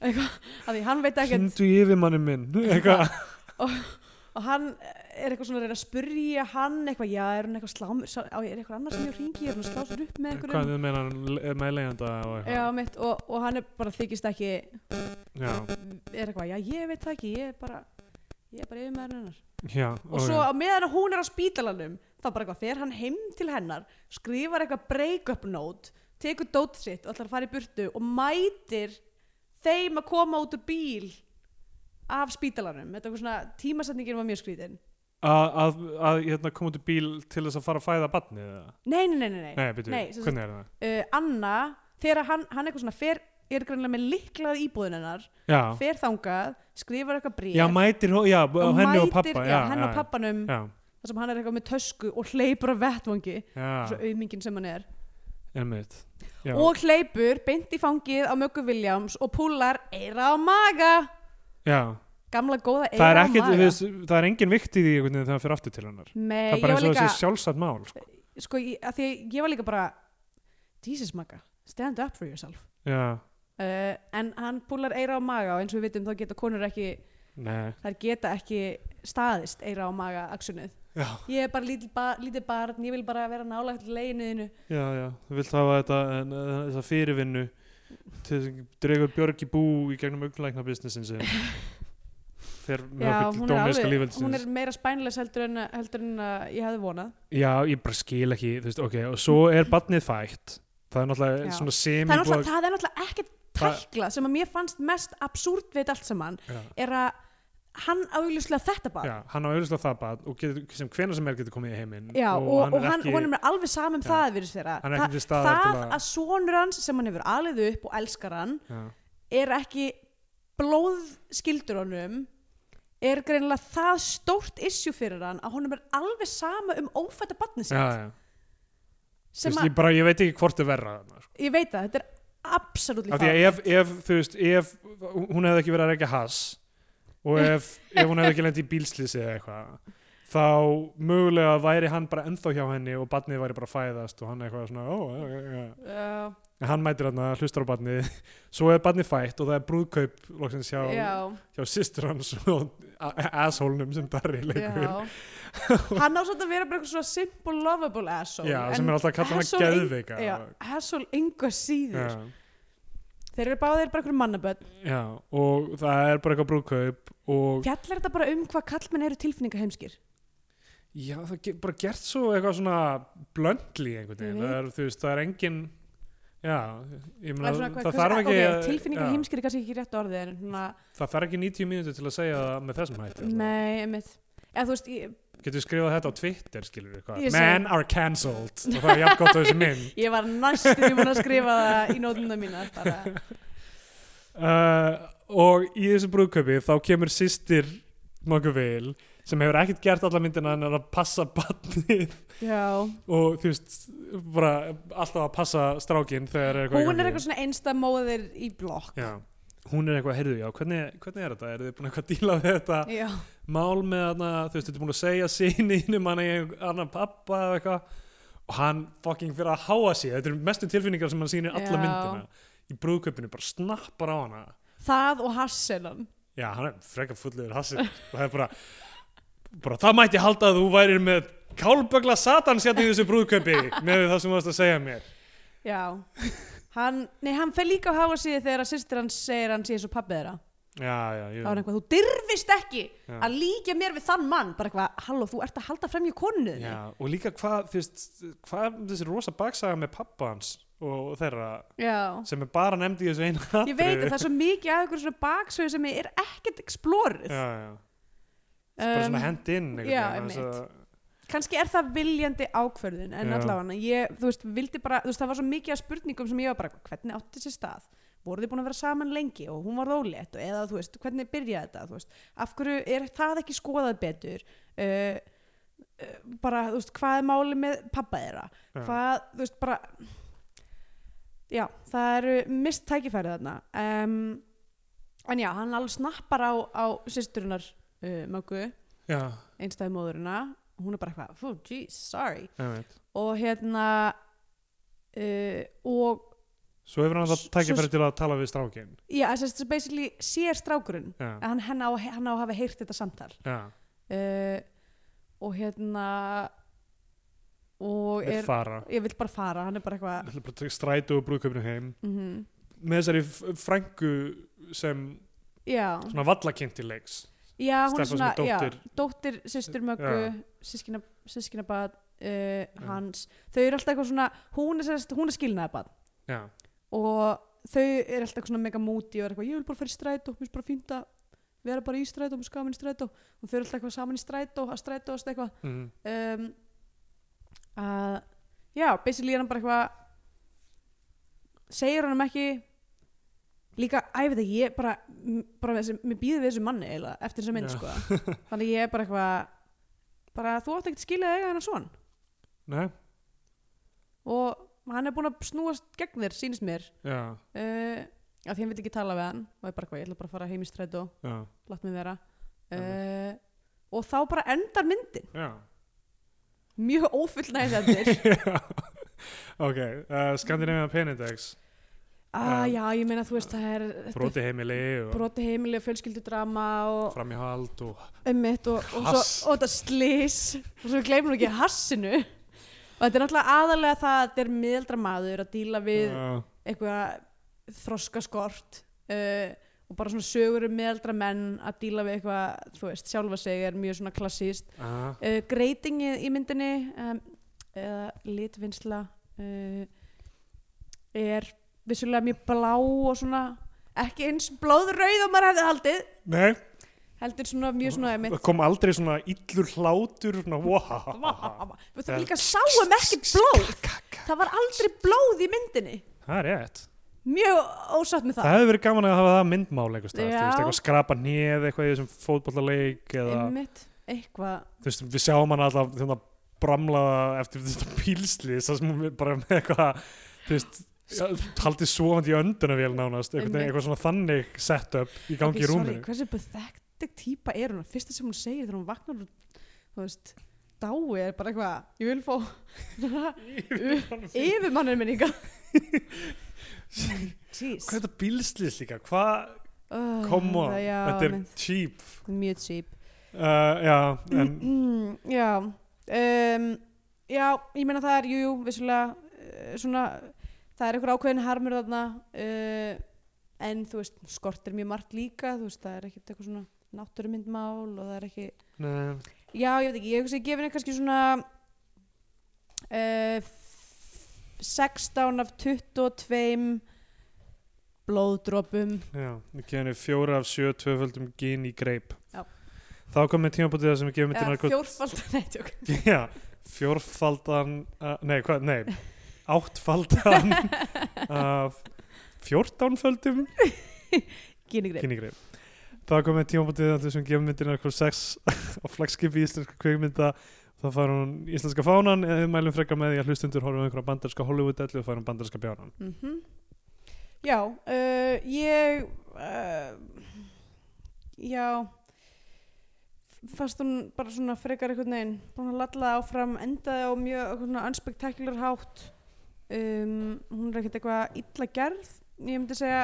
B: eitthvað, af því hann veit ekkert
C: hindu yfirmanni minn eitthvað,
B: og hann er eitthvað svona að reyna að spurja hann eitthvað, já, er hann eitthvað slám sá- á, er eitthvað annar sem ég ringi, er hann að slá sér upp með
C: hvað
B: eitthvað
C: þið meina hann með leiðanda og
B: já,
C: eitthvað
B: mitt, og, og hann er bara þykist ekki
C: já,
B: er eitthvað, já, ég veit það ekki, ég er bara ég er bara yfir maður hennar
C: já,
B: og svo á meðan að hún er á spítalanum þá bara eitthvað, fer hann heim til hennar skrifar eitthvað break-up note tekur dót sitt og ætlar að fara í burtu og mætir þeim að koma út úr bíl af spítalanum, þetta er eitthvað svona tímasetningin var mjög skrítin
C: að, að, að hérna, koma út í bíl til þess að fara að fæða batni eða,
B: nei, nei, nei, nei, nei.
C: nei, byrju,
B: Nei, sem sagt-
C: hvernig er það
B: uh, Anna þegar hann, hann eitthvað svona fer, er greinlega með liklað íbúðin hennar
C: já,
B: fer þangað, skrifar eitthvað bréf
C: já, mætir hó- já,
B: og
C: henni
B: mætir,
C: og pappa
B: já, henni og pappanum
C: já,
B: þar sem hann er eitthvað með tösku og hleypur af vettvangi svo
C: já,
B: auðmingin sem hann er
C: einmitt já,
B: og hleypur beint í fangið á Möggu Williams og púlar eira á maga
C: já
B: gamla góða
C: það er
B: eira á
C: ekkit,
B: maga
C: þú veist, það er engin vikt í því einhvern veginn þegar hann fyrir aftur til hennar
B: Nei,
C: það er
B: ég
C: bara
B: var
C: eins og
B: líka
C: það sé sjálfsagt mál sko.
B: sko, ég, að því ég var líka bara Jesus maga, stand up for yourself
C: já,
B: uh, en hann púlar eira á maga og eins og við vitum þá geta konur ekki
C: nei,
B: þær geta ekki staðist eira á maga aksunnið
C: já,
B: ég er bara lítið, ba lítið barn, ég vil bara vera nálægt leiðinuðinu
C: já, já þú vilt hafa þetta, en, eh, þessa fyrirvinnu til þess að dregur Björg í bú í gegnum augnulækna businessin sem þegar með okkur
B: hún
C: til
B: er,
C: dómiðska
B: hún
C: lífveldisins
B: er meira spænles heldur en, heldur en uh, ég hefði vonað
C: já, ég bara skil ekki, þú veist, ok og svo er badnið fætt það er náttúrulega
B: Já. það
C: svona
B: er,
C: semi
B: náttúrulega- það er náttúrulega ekkert
C: Það-
B: tæklað sem að mér fannst mest absúrt við þetta allt saman
C: Já.
B: er að hann auðvitað þetta bara
C: Já, hann á auðvitað það bad og getur, sem hvena sem er getur komið í heiminn
B: Já, og, og,
C: er
B: hann,
C: ekki,
B: honum er alveg saman um
C: Já.
B: það virðist vera.
C: Hann er ekki
B: Þa-
C: til staðar
B: það
C: til að-
B: að... sonur hans sem hann hefur alið upp og elskar hann
C: já,
B: er ekki blóðskildur honum er greinilega það stórt issue fyrir hann að honum er alveg sama um ófætta batni
C: já,
B: sitt
C: já. Þú
B: sem
C: veist,
B: að,
C: ég, bara, ég veit ekki hvort er verra þarna, sko.
B: ég veit að þetta er absolutt
C: af því að ef, ef, þú veist, ef hún hefði ekki verið að rekja has og ef, ef hún hefði ekki lent í bílslýsi eða eitthvað þá mögulega væri hann bara ennþá hjá henni og barnið væri bara að fæðast og hann eitthvað svona, ó, já, já, já
B: uh,
C: En hann mætir hann að hlustar á barnið svo er barnið fætt og það er brúðkaup loksins hjá,
B: já,
C: hjá systur hans og a- asshólnum sem Darri leikur
B: já. hann á svolítið að vera bara eitthvað svona simple lovable asshole
C: Já,
B: en
C: sem er alltaf að kalla hann
B: asshole ein-
C: geðveika.
B: já, asshole yngur síður
C: já,
B: þeir eru báðir bara eitthvað mannaböld
C: já, og það er bara eitthvað brúðkaup og
B: fjallar þetta bara um hvað kallmenn eru tilfinningaheimskir
C: já, það er bara gert svo eitthvað svona blöndli einhvern
B: Ég
C: veginn
B: veit.
C: það er, þú veist, það er engin já, ég
B: Maður
C: meina,
B: svona, hvað-
C: það
B: hversu-
C: þarf ekki
B: ok,
C: að-
B: tilfinningar
C: já,
B: heimskir er kannski ekki rétt orðið en svona,
C: það þarf ekki 90 mínútur til að segja það með þessum hætti alltaf.
B: nei, einmitt eða þú veist, ég,
C: getur skrifað þetta á Twitter, skilur við
B: Ég
C: hvað
B: sé.
C: men are cancelled og það er jafn gott á þessi mynd
B: ég var næstum búin að skrifa það í nótuna mína bara,
C: uh, og í þessu brúðkaupi þá kemur sýstir nokkuð vil sem hefur ekkert gert alla myndina en er að passa barnið
B: já
C: og þú veist bara alltaf að passa strákinn þegar er eitthvað í
B: hún er
C: gangi.
B: eitthvað svona einsta móðir í blokk
C: já, hún er eitthvað, heyrðu, já, hvernig, hvernig er þetta? Er þið búin eitthvað að díla við þetta
B: já,
C: mál með hana, þú veist, þið er búin að segja síninum hann eigi annan pappa eða eitthvað og hann fucking fyrir að háa sig, þetta eru mestu tilfinningar sem hann sýnir alla
B: Já.
C: myndina í brúðkaupinu, bara snappar á hana
B: það og hasselan
C: Já, hann er frekar fulliður hassir og það er bara, bara það mætti halda að þú værir með kálbögla satans hérna í þessu brúðkaupi með það sem þú varst að segja mér
B: já, hann nei, hann fer líka á háa síði þegar að systir hans segir hann sé svo pabbi þeirra
C: Já, já,
B: þá er hann
C: ég,
B: eitthvað, þú dyrfist ekki
C: Já.
B: að líka mér við þann mann bara eitthvað, halló, þú ert að halda fremja konunni þinni.
C: já og líka hvað, þú veist, hvað er þessi rosa baksaga með pappa hans og þeirra
B: já.
C: sem er bara nefndi í þessu einu
B: Ég veit að það er svo mikið af ykkur svona baksögu sem er ekkert explorið.
C: Já, já, bara svona hend inn einhvern
B: Um, já,
C: veginn, þess að-
B: Kannski er það viljandi ákverðin en
C: Já.
B: allavega ég, þú veist, vildi bara, þú veist, það var svo mikið af spurningum sem ég var bara, hvernig átti sér stað? Voru þið búin að vera saman lengi og hún var ólétt og eða, þú veist, hvernig byrjaði þetta, þú veist, af hverju er það ekki skoðað betur? Uh, uh, bara, þú veist, hvað er máli með pappa þeirra?
C: Já.
B: Hvað, þú veist, bara, já, það eru mist tækifærið þarna. Um, en já, hann alveg snappar á, á systurinnar uh, mögu
C: Já,
B: einstæði móðurina hún er bara eitthvað, oh geez, sorry
C: ég veit
B: og hérna uh, og
C: Svo hefur hann það
B: S-
C: tækja
B: svo-
C: fyrir til að tala við strákinn
B: já, þess að basically sér strákurinn
C: Já,
B: að hann, hann, á, hann á að hafa heyrt þetta samtal
C: já,
B: uh, og hérna og
C: við
B: er,
C: fara
B: ég vil bara fara hann er bara eitthvað
C: Ætla bara að taka Strætó og brúðkaupinu heim
B: mm
C: með þessari f- frængu sem
B: já,
C: svona vallakynnti leiks
B: já, hún
C: Stelpa
B: er
C: sem
B: svona
C: er dóttir.
B: já, dóttir systur möggu,
C: Já.
B: sískina sískina bad uh, hans þau eru alltaf eitthvað svona, hún er, sérst, hún er skilnaði bad
C: já,
B: og þau er alltaf svona mega múti og er eitthvað, ég vil bara fara í strætó, mér finnst bara fínt að vera bara í strætó, mér finnst gaman í strætó og þau eru alltaf eitthvað saman í strætó, að strætó og eitthvað
C: mm,
B: um, að já, basically er hann bara eitthvað segir honum ekki líka, æ, ég veit ekki, ég bara, m- bara þessi, mér býði við þessu manni eiginlega, eftir þessu mynd,
C: Já.
B: sko þannig ég er bara eitthvað bara, þú átt ekkert skilið að eiga hennar svon
C: nei,
B: og hann er búin að snúast gegn þér, sýnist mér
C: já,
B: uh, að því hann vil ekki tala við hann og er bara hvað, ég ætla bara að fara heim í strætó
C: já,
B: látt mig vera uh, og þá bara endar myndin
C: já.
B: mjög ófullnægjandir
C: ok, uh, Skandinavia Penindex
B: ah,
C: Um,
B: já, ég meina þú veist það er þetta er
C: broti heimili og
B: broti heimili og fjölskyldudrama og
C: framíhald og
B: ummitt og, og, svo,
C: Hass.
B: og þetta slís og svo gleymur ekki hassinu og þetta er náttúrulega aðalega það að þetta er miðaldra maður að díla við
C: Já,
B: eitthvað þroskaskort uh, og bara svona sögur um miðaldra menn að díla við eitthvað, þú veist, sjálfa sig er mjög svona klassíst
C: aha,
B: uh, greitingið í myndinni um, eða litvinnsla uh, er vissulega mjög blá og svona ekki eins blóðrauð og maður hefði haldið
C: nei,
B: heldur svona mjög svona einmitt-
C: það kom aldrei svona illur hlátur svona, wow.
B: Vá, Við þú líka sáum ekki blóð Það var aldrei blóð í myndinni
C: það er rétt
B: Mjög ósatt með
C: það
B: það
C: hefði verið gaman að hafa það myndmál einhvers staðar, þú
B: Já.
C: veist, eitthvað skrapa neð eitthvað í þessum fótballaleik eða,
B: Einmitt, eitthvað
C: þú veist, við sjáum hann alltaf þannig að bramlaða eftir þetta pílsli það sem hún er bara með eitthvað þú veist, ja, haldið svovandi í önduna vel nánast, eitthvað,
B: Einmitt.
C: eitthvað svona þannig setup í gangi
B: Ok,
C: í rúminu
B: sorry, Hversu pathetic típa er hún? Fyrsta sem hún segir þegar hún vaknar úr, Þú veist, dái er bara eitthvað Ég vil fá Yfirmannir minn ykkar Jeez
C: hvað er þetta pílslis líka, hvað
B: Oh,
C: come on,
B: já,
C: þetta er
B: einmitt.
C: cheap
B: Mjög cheap
C: uh, já, en
B: mm, já um, já, ég meina það er jú, jú, vissulega uh, svona, það er einhver ákveðin harmur þarna uh, en þú veist, skortir mjög margt líka þú veist, það er ekkert eitthvað svona náttúrumyndmál og það er ekki,
C: Nei.
B: já, ég veit ekki ég hugsa ég gefi henni kannski svona uh, 16 af 22 blóðdropum
C: Já, við gefum henni fjóra af sjö tvöföldum gin í greip.
B: Já.
C: Þá kom með tímabútið það sem við gefum
B: eða
C: myndin
B: fjórfald nei, tjók
C: Já, fjórfaldan uh, nei, hvað, nei áttfaldan af fjórtánföldum
B: gini greið
C: kynningreif það kom með tímabútið að þessum gefum myndin eitthvað sex á flagskipi íslenska kveikmynda þá fær hún íslenska fánan eða við mælum frekar með því að hlustundur horfum á einhverja bandarska Hollywood-ellu og fær hún bandarska bjánan
B: mm Já, uh, ég uh, já fannst hún bara svona frekar einhvern veginn búin að lalla áfram, endaði á mjög eitthvað svona unspektakular hátt um, hún er ekkert eitthvað illa gerð ég myndi segja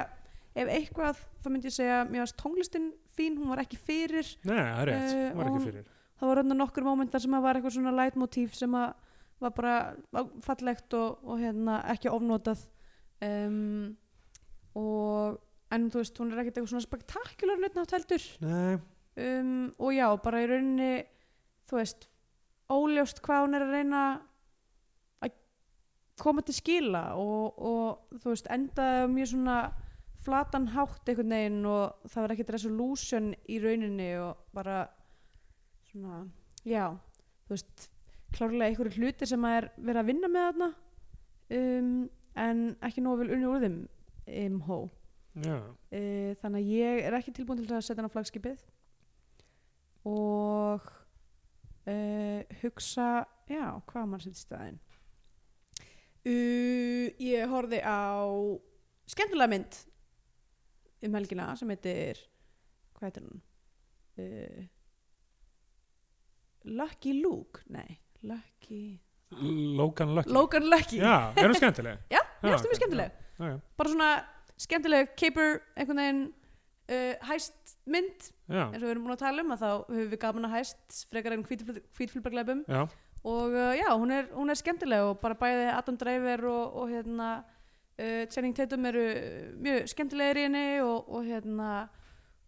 B: ef eitthvað þá myndi ég segja mér varst tónlistin fín, hún var ekki fyrir
C: Nei, það er rétt,
B: Eh,
C: hún var ekki
B: og-
C: fyrir
B: það voru hérna nokkur mómentar sem að var eitthvað svona leitmotíf sem að var bara var fallegt og, og hérna ekki ofnotað um, og en þú veist, hún er ekkert eitthvað svona spektakular nötnátt heldur
C: Nei,
B: um, og já, bara í rauninni þú veist, óljóst hvað hún er að reyna að koma til skila og, og þú veist, endaði á mjög svona flatan hátt einhvern veginn og það var ekkert resolution í rauninni og bara svona, já þú veist, klárlega einhverju hluti sem að er verið að vinna með þarna um, en ekki nógu vel unni úr þeim um, hó
C: já
B: uh, þannig að ég er ekki tilbúin til að setja hann á flagskipið og uh, hugsa já, hvað á maður setja í staðinn uh, ég horfði á skemmtilega mynd um helgina sem heitir hvað heitir hún uh, Lucky Luke nei, Lucky
C: Logan Lucky
B: Logan Lucky
C: Já, er hún skemmtileg?
B: Já, mér finnst það
C: ok,
B: mjög skemmtileg
C: Já, já,
B: bara svona skemmtileg keipur einhvern veginn uh, hæst mynd
C: já,
B: eins og við erum búin að tala um að þá höfum við gaman að hæst frekar en hvítfylbargleipum
C: já.
B: og uh, já, hún er, hún er skemmtileg og bara bæði Adam Driver og, og hérna uh, Channing Tatum eru uh, mjög skemmtilegir í henni og, og hérna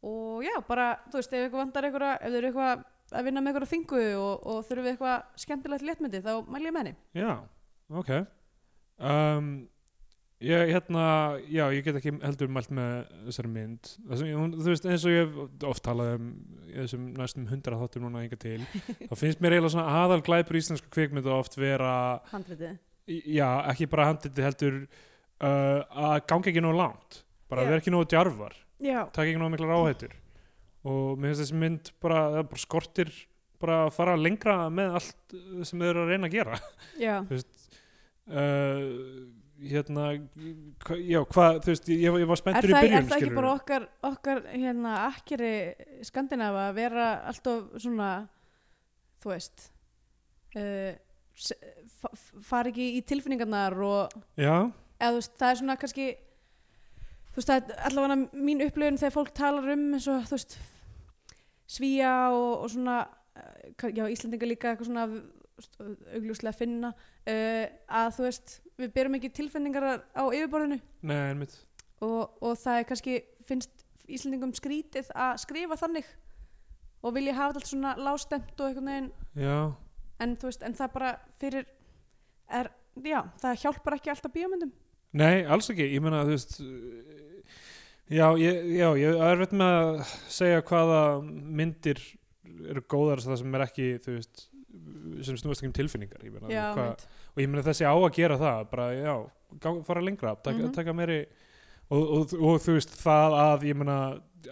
B: og já, bara, þú veist, ef eitthvað vantar einhverja, ef þau eru eitthvað að vinna með einhverja þingu og, og þurfum við eitthvað skemmtilegt léttmyndi, þá mæl ég með henni
C: Já, ok um, Ég hérna Já, ég get ekki heldur mælt með þessari mynd Það sem, hún, Þú veist, eins og ég hef oft talað um í þessum næstum hundra þáttum núna enga til þá finnst mér eiginlega svona aðal glæpur íslenska kvikmynda oft vera
B: handritið.
C: í- já, ekki bara handið heldur uh, að ganga ekki nóg langt bara
B: Já.
C: vera ekki nóg djarfar
B: Já,
C: taka ekki náðu miklar áhættur og mér finnst þessi mynd bara, það bara skortir bara að fara lengra með allt uh, sem þau eru að reyna að gera
B: já,
C: uh, hérna hva- já, hvað, þú veist, ég, ég var
B: er
C: spenntur í
B: það,
C: byrjun
B: er það ekki
C: skilurðu.
B: bara okkar, okkar hérna, akkeri skandinafa að vera alltaf svona þú veist uh, s- fa- f- fara ekki í tilfinningarnar og
C: já,
B: eða þú veist, það er svona kannski þú veist, það er allavega mín upplifun þegar fólk talar um eins og þú veist svíja og, og svona eh, ka- já, Íslendinga líka eitthvað svona þú veist, augljóslega finna uh, að þú veist, við berum ekki tilfinningar á yfirborðinu
C: nei, einmitt
B: og, og það er kannski finnst Íslendingum skrítið að skrifa þannig og vilja hafa þetta allt svona lástemt og einhvern veginn
C: já,
B: en þú veist, en það bara fyrir er, já, það hjálpar ekki alltaf bíómyndum
C: nei, alls ekki, ég meina, þú veist uh, Já, ég, já, ég er veit með að segja hvaða myndir eru góðar það sem er ekki, þú veist sem snúast ekki um tilfinningar ég meina,
B: Já,
C: hvað-
B: mitt.
C: og ég meina þessi á að gera það bara, já, gang, fara lengra taka,
B: Mhm.
C: taka meiri og, og, og, þú veist, það að, ég meina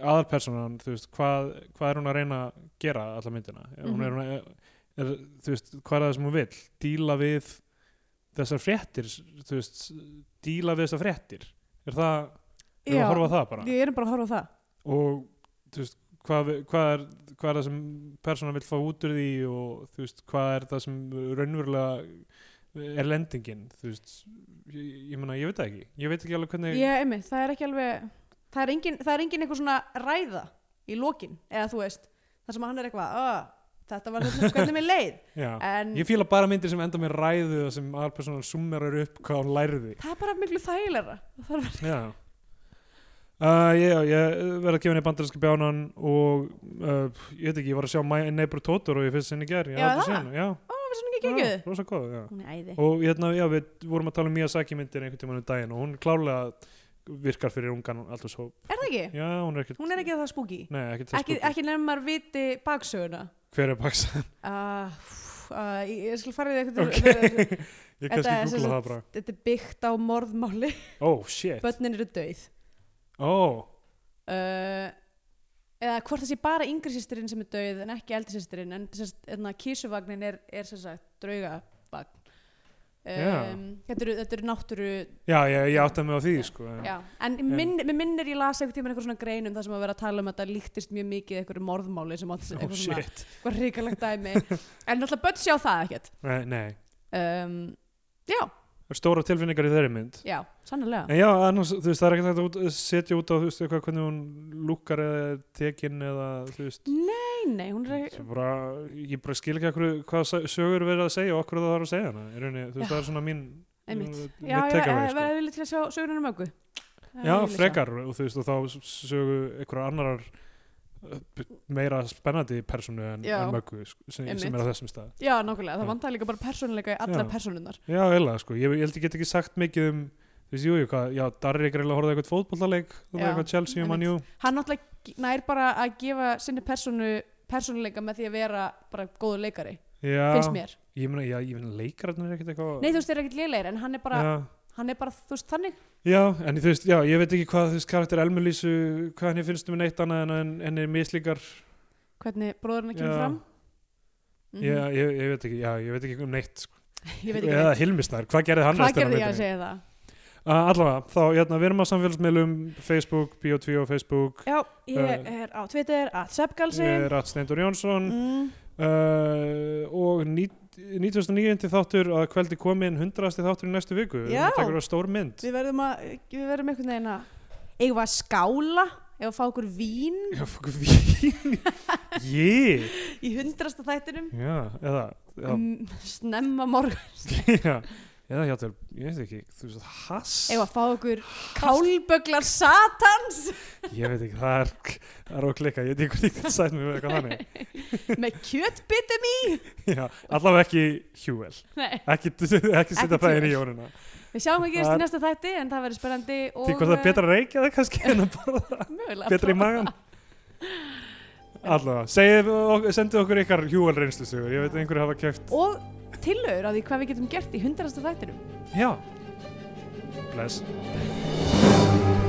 C: aðalpersonan, þú veist, hvað, hvað er hún að reyna að gera alla myndina hún
B: Mhm.
C: er, hún er, er, þú veist, hvað er það sem hún vill díla við þessar fréttir, þú veist díla við þessar fréttir er það, erum við
B: Já,
C: að horfa á það bara
B: Við erum bara að horfa á það.
C: og þú veist hvað, við- hvað, er, hvað er það sem persónan vill fá út úr því og þú veist hvað er það sem raunverulega er lendingin þú veist, ég, ég meina ég veit það ekki ég veit ekki alveg hvernig
B: Ég, einmitt, það er ekki alveg, það er engin, það er engin eitthvað svona ræða í lokin, eða þú veist, þar sem hann er eitthvað, "Ah, þetta var þetta, hvernig mér leið,
C: já,
B: en
C: ég fíla bara myndir sem enda með ræðu og sem aðalpersonan summerar upp hvað hún lærði
B: það er bara miklu þægilegra. Það er,
C: Já Uh, já, ég verði að gefa henni bandarinska bjánan og uh, ég veit ekki, ég var að sjá My Neighbor Totoro í fyrst sinni í gerð, ég
B: Já,
C: hafði
B: það?
C: séð hana, já,
B: ó, það er svona ekki
C: já,
B: geggjuð.
C: rosa góð, já.
B: Hún er æði.
C: og hérna, já, við vorum að tala um Miyazaki myndir einhvern tímann um daginn og hún klálega virkar fyrir ungan alltaf svo
B: Er það ekki?
C: já, hún er ekkert,
B: Hún er ekki það spooky.
C: nei, ekkert það
B: Ekki,
C: spurning.
B: ekki nefnum maður viti baksöguna.
C: hver er baksa,
B: Uh, uh, ég, ég skal fara í þetta
C: ok
B: okay.
C: ég
B: Þetta
C: kannski
B: er sem
C: googla það bara
B: þetta er byggt á morðmáli
C: oh, shit,
B: börnin eru döið
C: oh
B: uh, eða hvort það sé bara yngri sýstirinn sem er döið en ekki eldri sýstirinn en sérst, hérna, kísuvagnin er, er sem sagt draugavagn
C: Já.
B: um, þetta, eru, þetta eru náttúru
C: já, ég, ég átti mig á því, sko en-
B: já. en minn, mér minnir ég las einhvern tímann eitthvað svona greinum þar sem að vera að tala um að þetta líktist mjög mikið eitthvað morðmáli sem átt
C: oh
B: eitthvað, svona,
C: shit,
B: eitthvað ríkalegt dæmi en alltaf börn sjá það ekkert
C: nei, nei
B: um, já,
C: Það eru stóra tilfinningar í þeirri mynd
B: já, sannlega
C: en já, annars, þú veist, það er ekkert hægt að út- setja út á, þú veist, eitthvað hvernig hún lúkar eða er tekin eða, þú veist
B: nei, nei, hún er
C: Svo bara, ég bara skil ekki akkur, hvað sa- sögur verið að segja og okkur það var að segja hana í rauninni, þú veist,
B: Já.
C: það er svona mín
B: Einmitt.
C: mín-
B: já, eh,
C: mitt
B: ég
C: takeaway,
B: var-
C: sko.
B: var vilja til að sjá sögurinn um öggu
C: já, frekar og þú veist, og þá s- sögu einhverjar annarar uh, b- meira spennandi personu en,
B: Já.
C: en möggu sko, sem, sem
B: Einmitt.
C: er á þessum stað
B: Já, nákvæmlega, það
C: Já.
B: vantar líka bara persónuleika í allar
C: Já.
B: persónunar.
C: já, eiginlega, sko, ég, ég held ég get ekki sagt mikið um þú veist, jú, jú, hvað, já, Darri er eiginlega að horfa eitthvað fótbollaleik, það er
B: Já,
C: eitthvað Chelsea um
B: einmitt.
C: hann, jú,
B: Hann náttúrulega g- nær bara að gefa sinni persónu persónuleika með því að vera bara góður leikari, finnst
C: já,
B: mér.
C: ég meina, já, ég meina leikararnir er ekkert eitthvað
B: Nei, þú veist, þeir eru ekkert lélegir, en hann er bara,
C: já.
B: hann er bara, þú veist, þannig.
C: Já, en þú veist, já, ég veit ekki hvað þú veist karakter Elmulísu, hvað henni finnst um neitt annað en en henni er mislíkar
B: Hvernig bróðurinn kemur
C: Já.
B: fram? Mhm.
C: já, ég, ég veit ekki, já, ég veit ekki um neitt sko.
B: Ég veit ekki
C: Eða
B: neitt.
C: Hilmisnær, hvað gerði hann
B: Hvað gerði ég að segja það?
C: Allavega, þá, jæna, við erum á samfélagsmiðlum Facebook, Bio2 og Facebook
B: Já, ég
C: Eh,
B: er á Twitter, að Seppgalsin.
C: Ég er Rat Steindur Jónsson
B: Mm,
C: uh, og ní- 99. þáttur að kveldi komin 100. þáttur í næstu viku
B: Já.
C: Það er stór mynd
B: við verðum að, við verðum einhvern veginn að, eigum við að skála, eigum við að fá okkur vín
C: Já, fokk, vín Jé,
B: í hundrasta þættinum,
C: já, eða já,
B: mm, snemma morgun.
C: já, eða hjáttur, ég veit ekki þú veist, hass,
B: Eða að fá okkur kálböglar satans
C: ég veit ekki það er, það er á klika, ég veit ekki hvernig það sætt mér eitthvað þannig,
B: með kjötbitum í
C: já, allavega ekki hjúvel,
B: Nei,
C: ekki, ekki setja
B: Ekki
C: það inn í
B: Huel.
C: jónuna
B: við sjáum hvað gerist
C: Það-
B: í næsta þætti en það verður spennandi og
C: því hvort það er betra að reykja það kannski en að borða
B: eh, mögulega
C: það betra í magan allavega, segið, ok- sendið okkur ykkar hjúvel reynslusugur, ég veit að einhverju hafa kæft
B: og tillögur á því hvað við getum gert í hundarasta þættinum
C: já, bless